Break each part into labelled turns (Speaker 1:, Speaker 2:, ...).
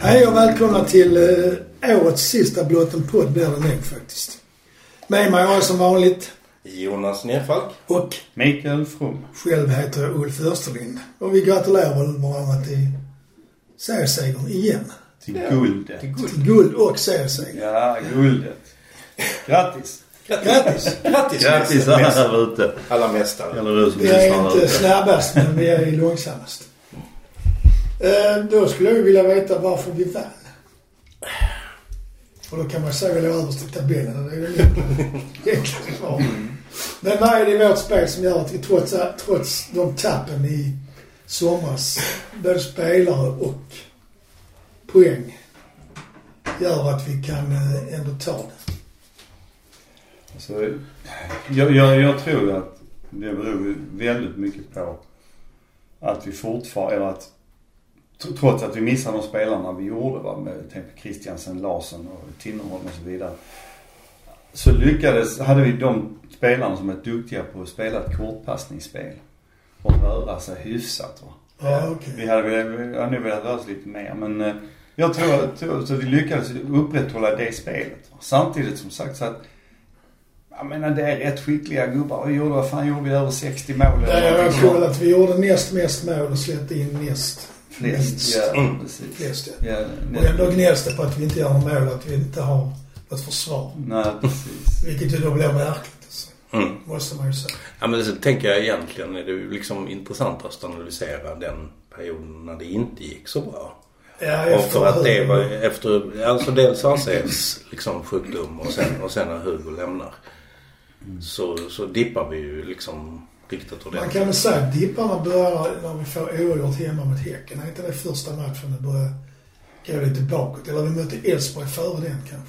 Speaker 1: Hej och välkomna till eh, årets sista Blott en podd blir det nog faktiskt. Med mig har jag som vanligt
Speaker 2: Jonas Nerfalk.
Speaker 1: och
Speaker 3: Mikael From.
Speaker 1: själv heter jag Ulf Österlind. Och vi gratulerar väl varandra till seriesegern igen.
Speaker 3: Till guldet.
Speaker 1: Till guld och serieseger.
Speaker 3: Ja, guldet. Grattis!
Speaker 1: Grattis!
Speaker 2: Grattis,
Speaker 4: Grattis
Speaker 2: mästare.
Speaker 4: alla där ute.
Speaker 2: alla mästare.
Speaker 4: Eller du som
Speaker 1: Vi är
Speaker 4: lyssnar där
Speaker 1: inte
Speaker 4: ute.
Speaker 1: snabbast men vi är långsammast. Eh, Då skulle jag vilja veta varför vi vann. Och då kan man säga väl överst i tabellen. och Det är väl egentligen svar. Men vad är det i vårt spel som gör att vi trots, trots de tappen i somras, både spelare och poäng, gör att vi kan eh, ändå ta det?
Speaker 3: Alltså, jag, jag, jag tror ju att det beror ju väldigt mycket på att vi fortfarande, eller att tr- trots att vi missar de spelarna vi gjorde va, med tänk på Christiansen, Larsson och Tinnerholm och så vidare. Så lyckades, hade vi de spelarna som är duktiga på att spela ett kortpassningsspel och röra sig hyfsat va.
Speaker 1: Ja, okej.
Speaker 3: Vi hade, väl- vi hade nog velat röra oss lite mer men eh, jag tror att tror att vi lyckades upprätthålla det spelet. Samtidigt som sagt så att jag menar det är rätt skickliga gubbar. Vi gjorde, vad fan gjorde vi? Över 60 mål
Speaker 1: Där
Speaker 3: eller
Speaker 1: jag har
Speaker 3: någonting sånt.
Speaker 1: kollat. Vi gjorde näst mest mål och släppte in näst
Speaker 3: Flest,
Speaker 1: minst.
Speaker 3: ja precis.
Speaker 1: Flest, ja.
Speaker 3: Ja,
Speaker 1: Och ändå
Speaker 3: nästan.
Speaker 1: gnälls det på att vi inte gör några mål, att vi inte har något försvar.
Speaker 3: Nej precis.
Speaker 1: Vilket ju då blir märkligt. Alltså.
Speaker 2: Mm.
Speaker 1: Måste man ju säga.
Speaker 2: Ja, men så tänker jag egentligen är det ju liksom intressantast att analysera den perioden när det inte gick så bra.
Speaker 1: Ja,
Speaker 2: Och för att det
Speaker 1: Hugo.
Speaker 2: var efter, alltså dels ACs liksom sjukdom och sen, och sen när Hugo lämnar. Så, så dippar vi ju liksom riktigt
Speaker 1: Man
Speaker 2: ordentligt.
Speaker 1: kan väl säga att dipparna börjar när vi får oavgjort hemma mot Häcken. Är inte det första matchen det börjar gå lite bakåt? Eller vi mötte Elfsborg före den kanske.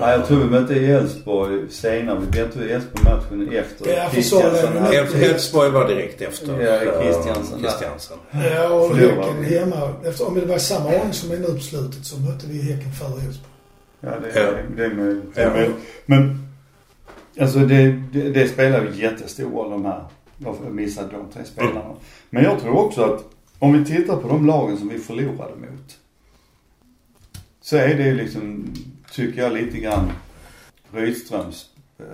Speaker 3: Nej jag tror vi mötte Elfsborg senare. Vi mötte Elfsborg matchen
Speaker 1: Ja,
Speaker 3: efter
Speaker 1: jag förstår det,
Speaker 3: Christiansen.
Speaker 1: men-
Speaker 3: hade-
Speaker 2: Elf- Elfsborg var direkt efter
Speaker 3: Ja,
Speaker 2: eh,
Speaker 3: Christiansen där.
Speaker 2: Christiansen.
Speaker 1: Ja, och
Speaker 3: Förlorar
Speaker 1: Häcken
Speaker 3: vi.
Speaker 1: hemma. Efter, om det var samma ordning som är nu på slutet så mötte vi Häcken före Elfsborg.
Speaker 3: Ja, det,
Speaker 2: Ja.
Speaker 3: det är möjligt.
Speaker 2: Ja.
Speaker 3: Men, men alltså det, det, det spelar ju jättestor roll de här. Varför missade de tre spelarna. Men jag tror också att om vi tittar på de lagen som vi förlorade mot. Så är det ju liksom, tycker jag lite grann Rydströms eh,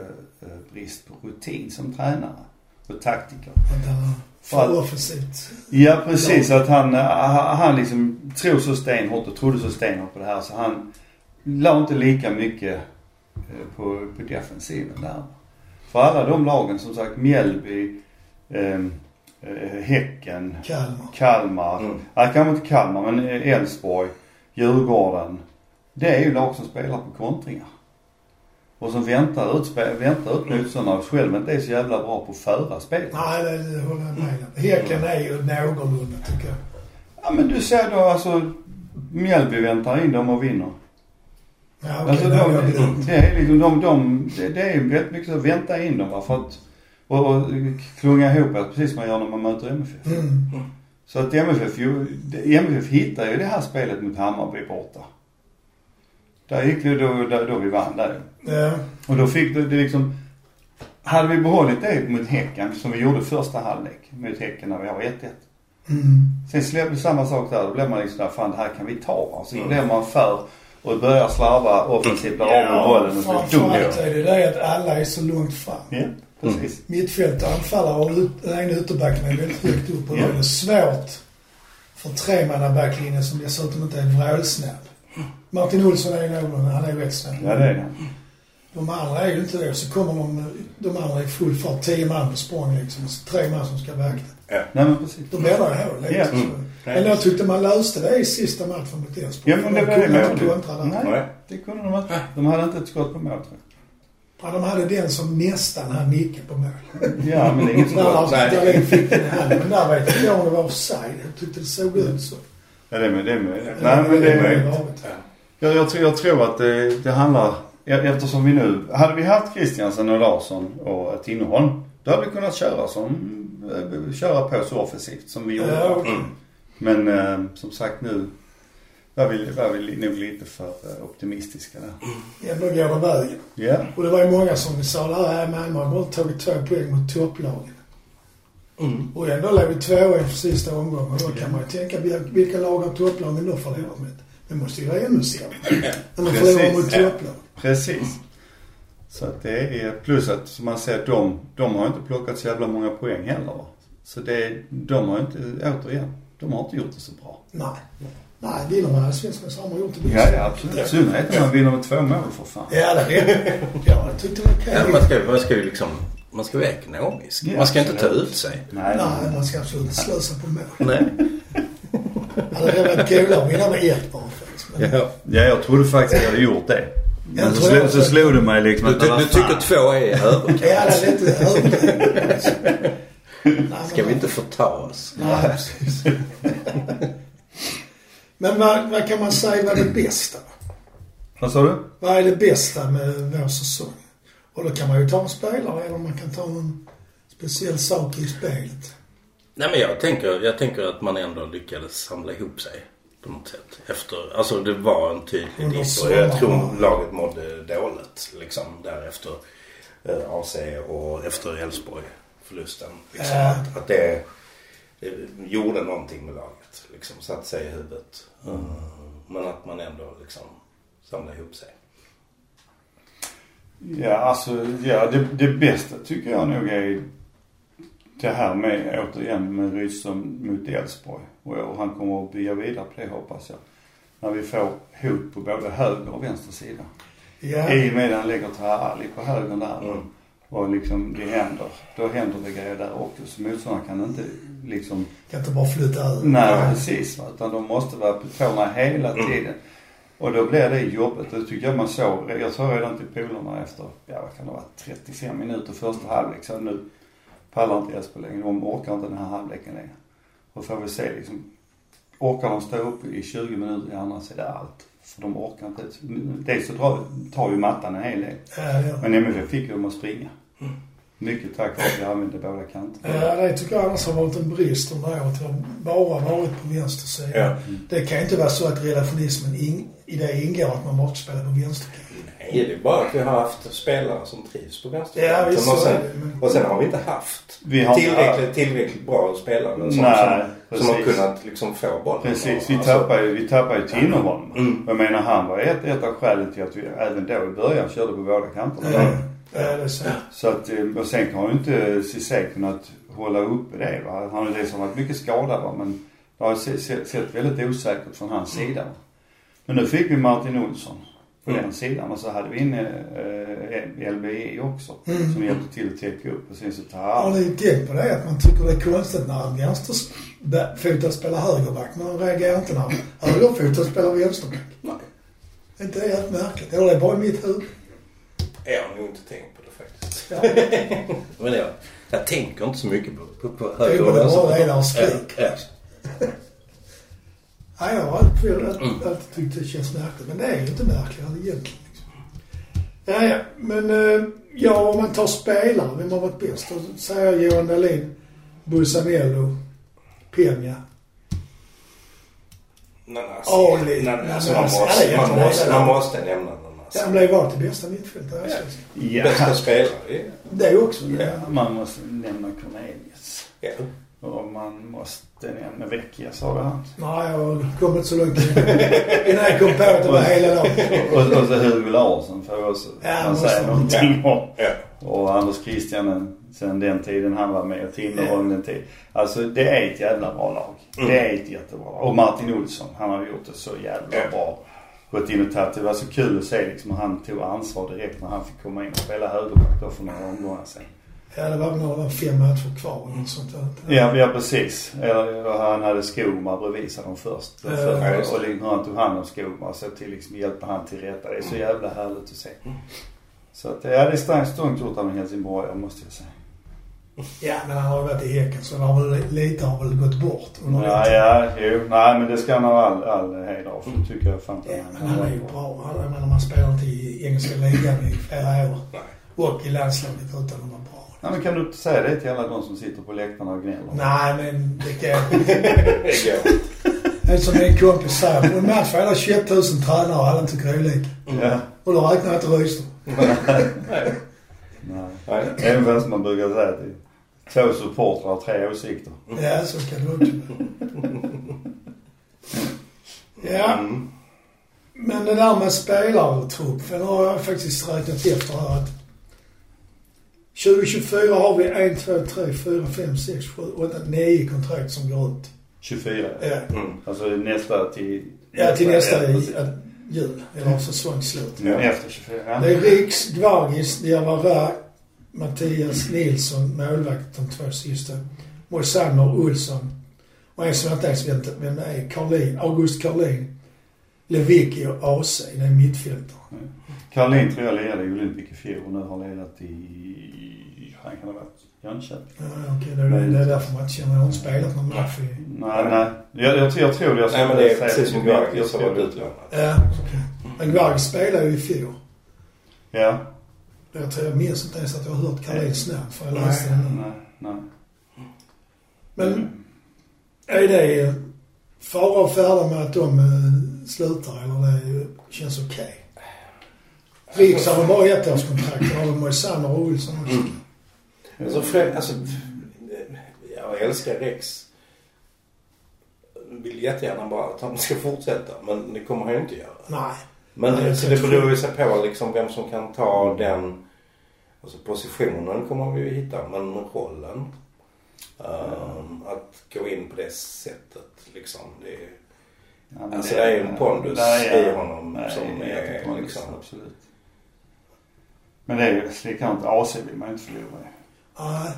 Speaker 3: eh, brist på rutin som tränare och taktiker.
Speaker 1: Att han var
Speaker 3: Fall.
Speaker 1: för offensivt.
Speaker 3: Ja precis, att han, eh, ha- han liksom tror så stenhårt och trodde så stenhårt på det här så han la inte lika mycket eh, på, på defensiven där. För alla de lagen som sagt Mjällby, eh, eh, Häcken,
Speaker 1: Kalmar.
Speaker 3: Kalmar,
Speaker 2: Mm.
Speaker 3: nej kanske inte Kalmar men eh, Elfsborg, Djurgården. Det är ju lag som spelar på kontringar. Och som väntar ut, spe- väntar ut motståndare själv inte är så jävla bra på att föra spelet.
Speaker 1: Nej, det, det håller jag med om. Häcken är ju någorlunda tycker jag.
Speaker 3: Ja men du ser då alltså Mjällby väntar in dem och vinner.
Speaker 1: Ja, okej.
Speaker 3: Alltså
Speaker 1: där har jag blivit-
Speaker 3: de, det är liksom de, de det, det är ju väldigt mycket så att vänta in dem va för att och, och klunga ihop er precis som man gör när man möter MFF.
Speaker 1: Mm.
Speaker 3: Så att MFF, ju, MFF hittar ju det här spelet mot Hammarby borta. Där gick det då, då, då vi vann där.
Speaker 1: Ja.
Speaker 3: Och då fick det, det liksom, hade vi behållit det mot Häcken som vi gjorde första halvlek mot Häcken när vi har 1-1.
Speaker 1: Mm.
Speaker 3: Sen släpper samma sak där. Då blir man liksom där, fan det här kan vi ta va. Så blir man för och börjar slarva offensivt, blir av med bollen och blir dum.
Speaker 1: Framförallt är det det att alla är så långt fram.
Speaker 3: Ja, precis.
Speaker 1: Mittfält och anfallare och ut- den ena ytterbacken är väldigt högt upp och då är det svårt för tremannabacklinjen som dessutom inte är vrålsnabb. Martin Olsson är någon, han är rätt snabb.
Speaker 3: Ja, det är det.
Speaker 1: De andra är ju inte det. Så kommer de, de andra i full fart, tio man på språng liksom, och så tre man som ska vakta.
Speaker 3: Nej men precis.
Speaker 1: Då blir det hål
Speaker 3: Mm. Ja.
Speaker 1: liksom.
Speaker 3: Mm.
Speaker 1: Men jag tyckte man löste det i sista matchen mot Elfsborg.
Speaker 3: Ja men det
Speaker 1: De
Speaker 3: var det
Speaker 1: kunde inte
Speaker 3: målet.
Speaker 1: kontra där.
Speaker 3: Nej, det kunde de inte. De hade inte ett skott på mål tror
Speaker 1: Ja, de hade den som nästan han nickade på mål.
Speaker 3: jag. Ja, men det är inget
Speaker 1: Där
Speaker 3: skott.
Speaker 1: Lars
Speaker 2: Nej.
Speaker 1: Dahlin fick den i handen. Men där vet inte jag om det var offside. Jag tyckte det såg ut så.
Speaker 3: Ja, det är möjligt. Det är möjligt. Nej men det är möjligt.
Speaker 1: varit.
Speaker 3: Jag, jag, tror, jag tror att det, det handlar, e- eftersom vi nu, hade vi haft Christiansen och Larsson och Tinnerholm, då hade vi kunnat köra som, eh, köra på så offensivt som vi gjorde.
Speaker 1: Ja, okej.
Speaker 3: Men eh, som sagt nu var vi, var vi nog lite för eh, optimistiska där.
Speaker 1: Ändå går det vägen.
Speaker 3: Ja.
Speaker 1: Och det var ju många som sa där, här Malmö har bara tagit två poäng mot topplagen.
Speaker 2: Mm.
Speaker 1: Och ändå låg vi tvåa inför sista omgången. Då kan man ju tänka vilka- vilka lag har topplagen då förlorat mot? Det måste ju vara ännu sämre. När man förlorar
Speaker 3: Precis.
Speaker 1: mot topplag.
Speaker 3: Precis. Så att det är, plus att som man ser att de, de har inte plockat så jävla många poäng heller va. Så det, de har inte, återigen, de har inte gjort det så bra.
Speaker 1: Nej. Nej, vinner man allsvenskan så har man gjort det bäst.
Speaker 3: Ja, ja absolut. I synnerhet när man vinner med två mål för fan.
Speaker 1: Ja, det är det. Ja, jag tyckte det var okej.
Speaker 2: Ja, man, ska, man ska ju liksom, man ska vara ekonomisk.
Speaker 3: Ja,
Speaker 2: man ska inte ta
Speaker 3: absolut.
Speaker 2: ut sig.
Speaker 3: Nej,
Speaker 1: Nej, man ska absolut inte slösa på mål. Alltså,
Speaker 2: Nej.
Speaker 1: Det hade varit coolare att vinna med ett bara faktiskt. Men
Speaker 2: Ja.
Speaker 3: Ja, jag trodde faktiskt att jag hade gjort det.
Speaker 1: Jag
Speaker 3: Men så,
Speaker 1: tror
Speaker 3: slog,
Speaker 1: jag
Speaker 3: så
Speaker 1: också.
Speaker 3: slog det mig liksom
Speaker 2: Du,
Speaker 3: att...
Speaker 2: ty,
Speaker 3: vad
Speaker 2: du
Speaker 3: fan.
Speaker 2: tycker två är i överkant.
Speaker 1: Ja, det är lite överdrivet. Nej,
Speaker 2: Ska
Speaker 1: men-
Speaker 2: vi inte förta oss?
Speaker 1: Nej, precis. Men vad, vad kan man säga var det bästa?
Speaker 3: Vad sa du?
Speaker 1: Vad är det bästa med vår säsong? Och då kan man ju ta en spelare eller man kan ta någon speciell sak i spelet.
Speaker 2: Nej men jag tänker, jag tänker att man ändå lyckades samla ihop sig på något sätt. Efter, alltså det var en tydlig
Speaker 1: Under
Speaker 2: dipp och jag tror
Speaker 1: sommaren.
Speaker 2: laget mådde dåligt liksom därefter eh, AC och efter Elfsborg förlusten. Liksom,
Speaker 1: Ja.
Speaker 2: att, att det, det gjorde någonting med laget. Liksom satte sig i huvudet. Eh, Men att man ändå liksom samlade ihop sig.
Speaker 3: Ja, alltså, ja, det, det bästa tycker jag nog är det här med, återigen, med Rydström mot Elfsborg. Och, jag- och han kommer att bygga vidare på det hoppas jag. När vi får hot på både höger och vänster sida.
Speaker 1: Ja,
Speaker 3: I och med att han lägger Tarali på höger där.
Speaker 2: Mm.
Speaker 3: Och liksom det händer. Då händer det grejer där också. Så motståndaren kan inte liksom
Speaker 1: kan inte bara flytta över.
Speaker 3: Nej, precis. va. Utan de måste vara på tårna hela tiden. Och då blir det jobbigt. Det tycker jag man såg. Jag sa redan till polarna efter, ja vad kan det vara, 35 minuter första halvlek. Så nu pallar inte Elfsborg längre. De orkar inte den här halvleken längre. Och får vi se liksom, orkar de stå upp i 20 minuter i andra så är det allt. För de orkar inte. Dels så drar- tar ju mattan en hel del.
Speaker 1: Ja, det gör det.
Speaker 3: Men MFF fick ju dem att springa. Mycket tack vare att vi använde båda kanterna.
Speaker 1: Ja, det tycker jag annars har varit en brist under året. Det har bara varit på vänster sida.
Speaker 2: Ja.
Speaker 1: Det kan ju inte vara så att relationismen in, i det ingår att man bara spelar på vänsterkanten.
Speaker 2: Nej, det är bara att vi har haft spelare som trivs på
Speaker 1: Ja,
Speaker 2: vänsterkanten.
Speaker 1: visst,
Speaker 2: och,
Speaker 1: så är
Speaker 2: sen,
Speaker 1: det, men-
Speaker 2: och sen har vi inte haft
Speaker 3: Vi har inte
Speaker 2: tillräckligt, tillräckligt bra spelare som,
Speaker 3: Nej,
Speaker 2: som, som har
Speaker 3: precis.
Speaker 2: kunnat liksom få bollen.
Speaker 3: Precis,
Speaker 2: Och-
Speaker 3: vi tappar ju, vi tappar ju Tinnerholm.
Speaker 2: Alltså- Mm.
Speaker 3: Jag menar han var ett, ett av skälen till att vi även då i början körde på båda kanterna.
Speaker 2: Mm.
Speaker 1: Ja, ja, det är så.
Speaker 3: Så att, eh, och sen har ju inte Cissé kunnat hålla uppe det va. Han har dessutom varit mycket skadad va. Men det har se- se- sett väldigt osäkert från hans sida. va. Men nu fick vi Martin Olsson på
Speaker 2: Mm.
Speaker 3: den sidan och så hade vi inne eh, LBE också.
Speaker 1: Mm.
Speaker 3: Som hjälpte till att täcka upp. Och sen så
Speaker 1: Har
Speaker 3: Tahar.
Speaker 1: ni tänkt på det? Att man tycker det är konstigt när en vänsterfotad spelar högerback. Man reagerar inte när högerfotad spelar vänsterback.
Speaker 2: Nej,
Speaker 1: Är inte det helt märkligt? Eller det är bara i mitt huvud.
Speaker 2: jag har nog inte tänkt på det faktiskt.
Speaker 1: Ja.
Speaker 2: Men jag, jag tänker inte så mycket på, på, på
Speaker 1: Det är ju
Speaker 2: höger
Speaker 1: bara
Speaker 2: vänster. Äh,
Speaker 1: att reda och skrik.
Speaker 2: Ja, ja.
Speaker 1: Nej, jag har alltid,
Speaker 3: Mm.
Speaker 1: alltid, alltid tyckt det känns märkligt. Men det är ju inte märkligare egentligen. Liksom. Ja, ja. Men eh, ja, om man tar spelare, vem har varit bäst? Då säger jag Johan Dahlin, Busanello, Peña.
Speaker 2: Nanasi.
Speaker 1: Ali.
Speaker 2: Nanasi. Man
Speaker 1: Nanasi.
Speaker 2: måste,
Speaker 1: Ja,
Speaker 2: man måste,
Speaker 1: ja.
Speaker 2: man måste nämna
Speaker 1: Han
Speaker 2: Nanasi.
Speaker 1: blev vald till bästa mittfältare. Ja.
Speaker 3: Ja,
Speaker 2: Bästa spelare.
Speaker 1: Det är också. Ja.
Speaker 3: man måste nämna Cornelius.
Speaker 2: Ja.
Speaker 3: Och man måste nämna Vecchia sa det han.
Speaker 1: Nej, jag har kommit så långt innan jag kom på att det var hela dagen.
Speaker 3: Och, och så Hugo Larsson får jag också
Speaker 1: Ja,
Speaker 3: han
Speaker 1: måste
Speaker 3: säga
Speaker 1: man.
Speaker 3: någonting om.
Speaker 2: Ja.
Speaker 3: Och Anders Christianen sen den tiden han var med och Tinnerholm den tiden. Alltså det är ett jävla bra lag. Det är ett jättebra lag. Och Martin Olsson, han har gjort det så jävla
Speaker 2: Ja.
Speaker 3: bra. Gått in och tagit, det var så kul att se liksom hur han tog ansvar direkt när han fick komma in och spela högerback då för några omgångar sen.
Speaker 1: Ja, det var väl några fem matcher kvar eller något sånt där.
Speaker 3: Ja, ja precis. Eller, och han hade Skogmar bredvid sig de först.
Speaker 1: Ja,
Speaker 3: För-
Speaker 2: just det.
Speaker 3: och liksom, han tog hand om Skogmar och så till liksom hjälpa han till rätta. Det är
Speaker 1: Mm.
Speaker 3: så jävla härligt att se. Så att, ja, det är starkt stångt gjort av en helsingborgare måste jag säga.
Speaker 1: Ja, men han har ju varit i Häcken så han har väl, lite har väl gått bort. under
Speaker 3: Ja,
Speaker 1: året.
Speaker 3: ja, jo. Nej, men det ska han ha all, all heder av. för det tycker jag fan
Speaker 1: Mm. ja. Men han är ju bra. Han, jag menar, man spelar inte i engelska ligan i flera år.
Speaker 2: Nej.
Speaker 1: Och i landslaget utan att vara bra.
Speaker 3: Nej, men kan du inte säga det till alla de som sitter på läktarna och gnäller?
Speaker 1: Nej, men det kan jag inte.
Speaker 2: Det går.
Speaker 1: Det är Som min kompis säger, på en match får alla 21 000 tränare och alla tycker olika.
Speaker 3: Ja,
Speaker 1: Och då räknar jag inte Rydström.
Speaker 2: Nej.
Speaker 3: nej.
Speaker 2: Nej.
Speaker 3: Även fast man brukar säga att det Två supportrar, tre
Speaker 1: Mm.
Speaker 3: åsikter.
Speaker 1: Ja, så kan det också vara. Ja,
Speaker 3: Mm.
Speaker 1: men det där med spelartrupp, för nu har jag faktiskt räknat efter här att 2024 har vi 1, 2, 3, 4, 5, 6, 7, 8, 9 kontrakt som går ut.
Speaker 3: 24.
Speaker 1: Ja,
Speaker 2: Mm.
Speaker 3: Alltså nästa till...
Speaker 1: ja till nästa
Speaker 3: ja,
Speaker 1: i,
Speaker 3: precis.
Speaker 1: att- jul, eller säsongsslut.
Speaker 3: Men Efter 24. Ja.
Speaker 1: Det är Riks, Gvargis, Diawara, Mattias Nilsson, målvakt, de två sista. Moisander, Olsson och en som jag inte ens vet vem det är, Karlin, August Karlin. Lewicki och AC, det är mittfältare.
Speaker 3: Caroline tror jag ledde i Olympic i fjol och nu har ledat i... Han kan ha varit Jönköping.
Speaker 1: Ja, okej, det, är- det är därför matchen. Jag har inte spelat någon match i...
Speaker 3: Nej, nej. Jag, jag, jag tror det. Jag
Speaker 2: Nej men det är
Speaker 3: säger-
Speaker 2: precis som Gvargis som
Speaker 3: tror
Speaker 2: varit
Speaker 3: det.
Speaker 2: utlånad.
Speaker 1: Ja, okej. Men Gvargis spelade ju i fjol.
Speaker 3: Ja.
Speaker 1: Jag tror jag minns inte ens att jag har hört Karlins namn, för jag läste det nu.
Speaker 3: Nej, nej.
Speaker 1: Men
Speaker 3: Mm.
Speaker 1: Är det fara och färda med att de eh, slutar eller det känns okej? Riks har väl bara ettårskontrakt. Då har de Moisander och Olsson också.
Speaker 3: Mm.
Speaker 2: Alltså, frä, alltså, jag älskar Rex. Vill jättegärna bara att han ska fortsätta men det kommer han ju inte göra.
Speaker 1: Nej.
Speaker 2: Men
Speaker 1: Nej,
Speaker 2: det, så
Speaker 1: jag
Speaker 2: det
Speaker 1: tror-
Speaker 2: beror ju sig på liksom vem som kan ta den alltså positionen kommer vi ju hitta men rollen. Ehm, att gå in på det sättet liksom. Det är,
Speaker 3: Nej, men
Speaker 2: Alltså, det är ju en pondus
Speaker 3: Nej, ja.
Speaker 2: i honom
Speaker 3: Nej,
Speaker 2: som
Speaker 3: det
Speaker 2: är
Speaker 3: jättepondus,
Speaker 2: liksom-
Speaker 3: Absolut. Men det är ju likadant. AC vill man ju inte förlora i.
Speaker 1: Nej.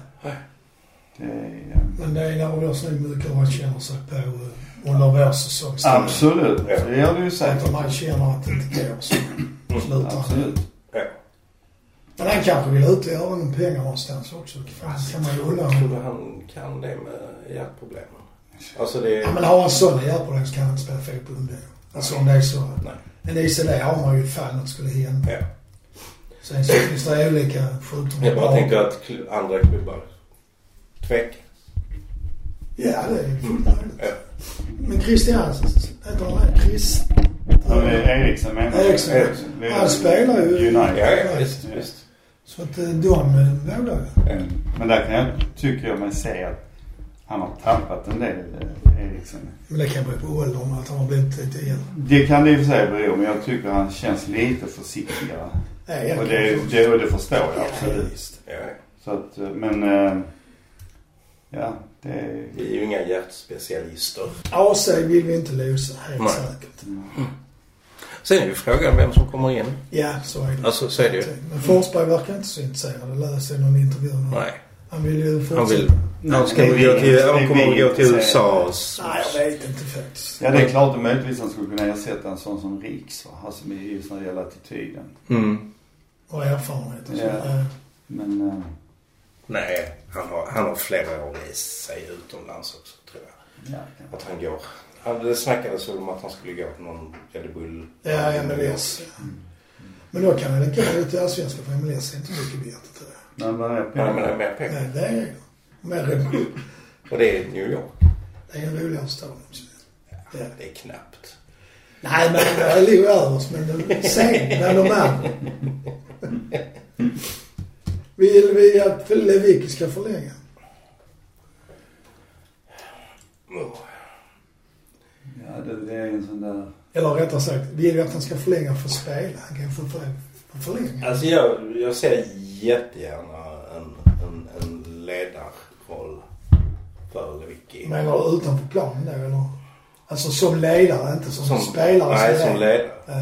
Speaker 3: Det är, eh,
Speaker 1: Men det är när vi har snyggt hur man känner sig på eh, under vår säsong.
Speaker 3: Absolut. Det gör du ju
Speaker 1: Att
Speaker 3: säkert.
Speaker 1: man känner att det inte går så slutar han.
Speaker 3: Mm, Absolut.
Speaker 2: ja.
Speaker 1: Men han kanske vill ut och göra någon pengar någonstans också. Fan, kan man ju undra.
Speaker 2: Jag tror han kan det med hjärtproblemen. Alltså det
Speaker 1: Ja, men har han sådana hjärtproblem så kan han inte spela fotboll under. Alltså om det är så.
Speaker 2: Nej.
Speaker 1: En ICD har man ju ifall något skulle hända.
Speaker 2: Ja.
Speaker 1: Sen så finns det olika sjukdomar.
Speaker 2: Jag bara tänker att kl- andra klubbar tvekar.
Speaker 1: Ja, det är fullt möjligt.
Speaker 2: Ja.
Speaker 1: Men Christiansen, heter han det? Chris?
Speaker 3: Ja, men Eriksen menar jag.
Speaker 1: Eriksen.
Speaker 3: Vi-
Speaker 1: Han spelar ju-
Speaker 2: Ja,
Speaker 3: United.
Speaker 2: ja visst,
Speaker 3: Ja.
Speaker 2: visst.
Speaker 1: Så att eh, de eh, vågar ju.
Speaker 3: Mm. Men där kan jag, tycker jag mig se att han har tappat en del, eh, Eriksen.
Speaker 1: Men det kan bero på åldern att han har blivit lite äldre.
Speaker 3: Det kan det i och för sig bero, men jag tycker han känns lite försiktigare.
Speaker 1: Nej, jag
Speaker 3: Och
Speaker 1: kan
Speaker 3: det,
Speaker 1: inte-
Speaker 3: det, och det förstår jag
Speaker 1: Ja,
Speaker 3: absolut.
Speaker 1: visst.
Speaker 2: Ja.
Speaker 3: Så att, eh, men... eh, Ja, det är...
Speaker 2: Vi är ju inga hjärtspecialister.
Speaker 1: AC vill vi inte lösa, helt
Speaker 2: Nej.
Speaker 1: säkert.
Speaker 2: Sen är ju frågan vem som kommer in.
Speaker 1: Ja, så är det.
Speaker 2: Alltså så är det ju.
Speaker 1: Men Forsberg verkar inte så intresserad. Jag läste i någon intervju. nu.
Speaker 2: Nej.
Speaker 1: Han vill ju fortsätta.
Speaker 2: Han vill... Han ska
Speaker 3: det är
Speaker 2: väl
Speaker 3: vi
Speaker 2: gå till,
Speaker 3: inte- det
Speaker 2: han
Speaker 3: är
Speaker 2: kommer
Speaker 3: vi
Speaker 2: väl gå till
Speaker 3: inte
Speaker 2: USAs...
Speaker 1: Nej, jag vet inte faktiskt.
Speaker 3: Ja, det är klart att möjligtvis han skulle kunna ersätta en sån som Riks, va? Alltså med just när det gäller attityden.
Speaker 2: Mm.
Speaker 1: Och erfarenhet och så.
Speaker 3: Ja.
Speaker 1: Eh,
Speaker 3: Men... eh,
Speaker 2: Nej, han har, han har flera år i sig utomlands också tror jag.
Speaker 3: Ja, kan-
Speaker 2: Att han går. Han, det snackades väl om att han skulle gå på någon Red Bull.
Speaker 1: Ja, MLS. Men då kan det lika gärna ut i Allsvenskan för MLS är inte mycket bättre tror jag.
Speaker 3: Men vad är
Speaker 2: Men jag menar
Speaker 3: pengar?
Speaker 2: mer pengar.
Speaker 1: Nej, det är ju. Men Red Bull,
Speaker 2: Och det är New York.
Speaker 1: det är en roligare stad. också. Ja.
Speaker 2: Det är knappt.
Speaker 1: Nej, men det ligger över oss. Men de- sen, när de är. Vill vi att Lewicki ska förlänga?
Speaker 2: Oh.
Speaker 3: Ja, det, det är en sån där...
Speaker 1: Eller rättare sagt, vill vi att han ska förlänga för att spela? Han kan ju få för- för förlänga.
Speaker 2: Alltså jag, jag ser jättegärna en, en, en ledarroll för Lewicki.
Speaker 1: Menar du utanför planen då eller? Alltså som ledare, inte som, spelare.
Speaker 2: Nej, som
Speaker 1: led-
Speaker 2: ledare.
Speaker 1: Ja.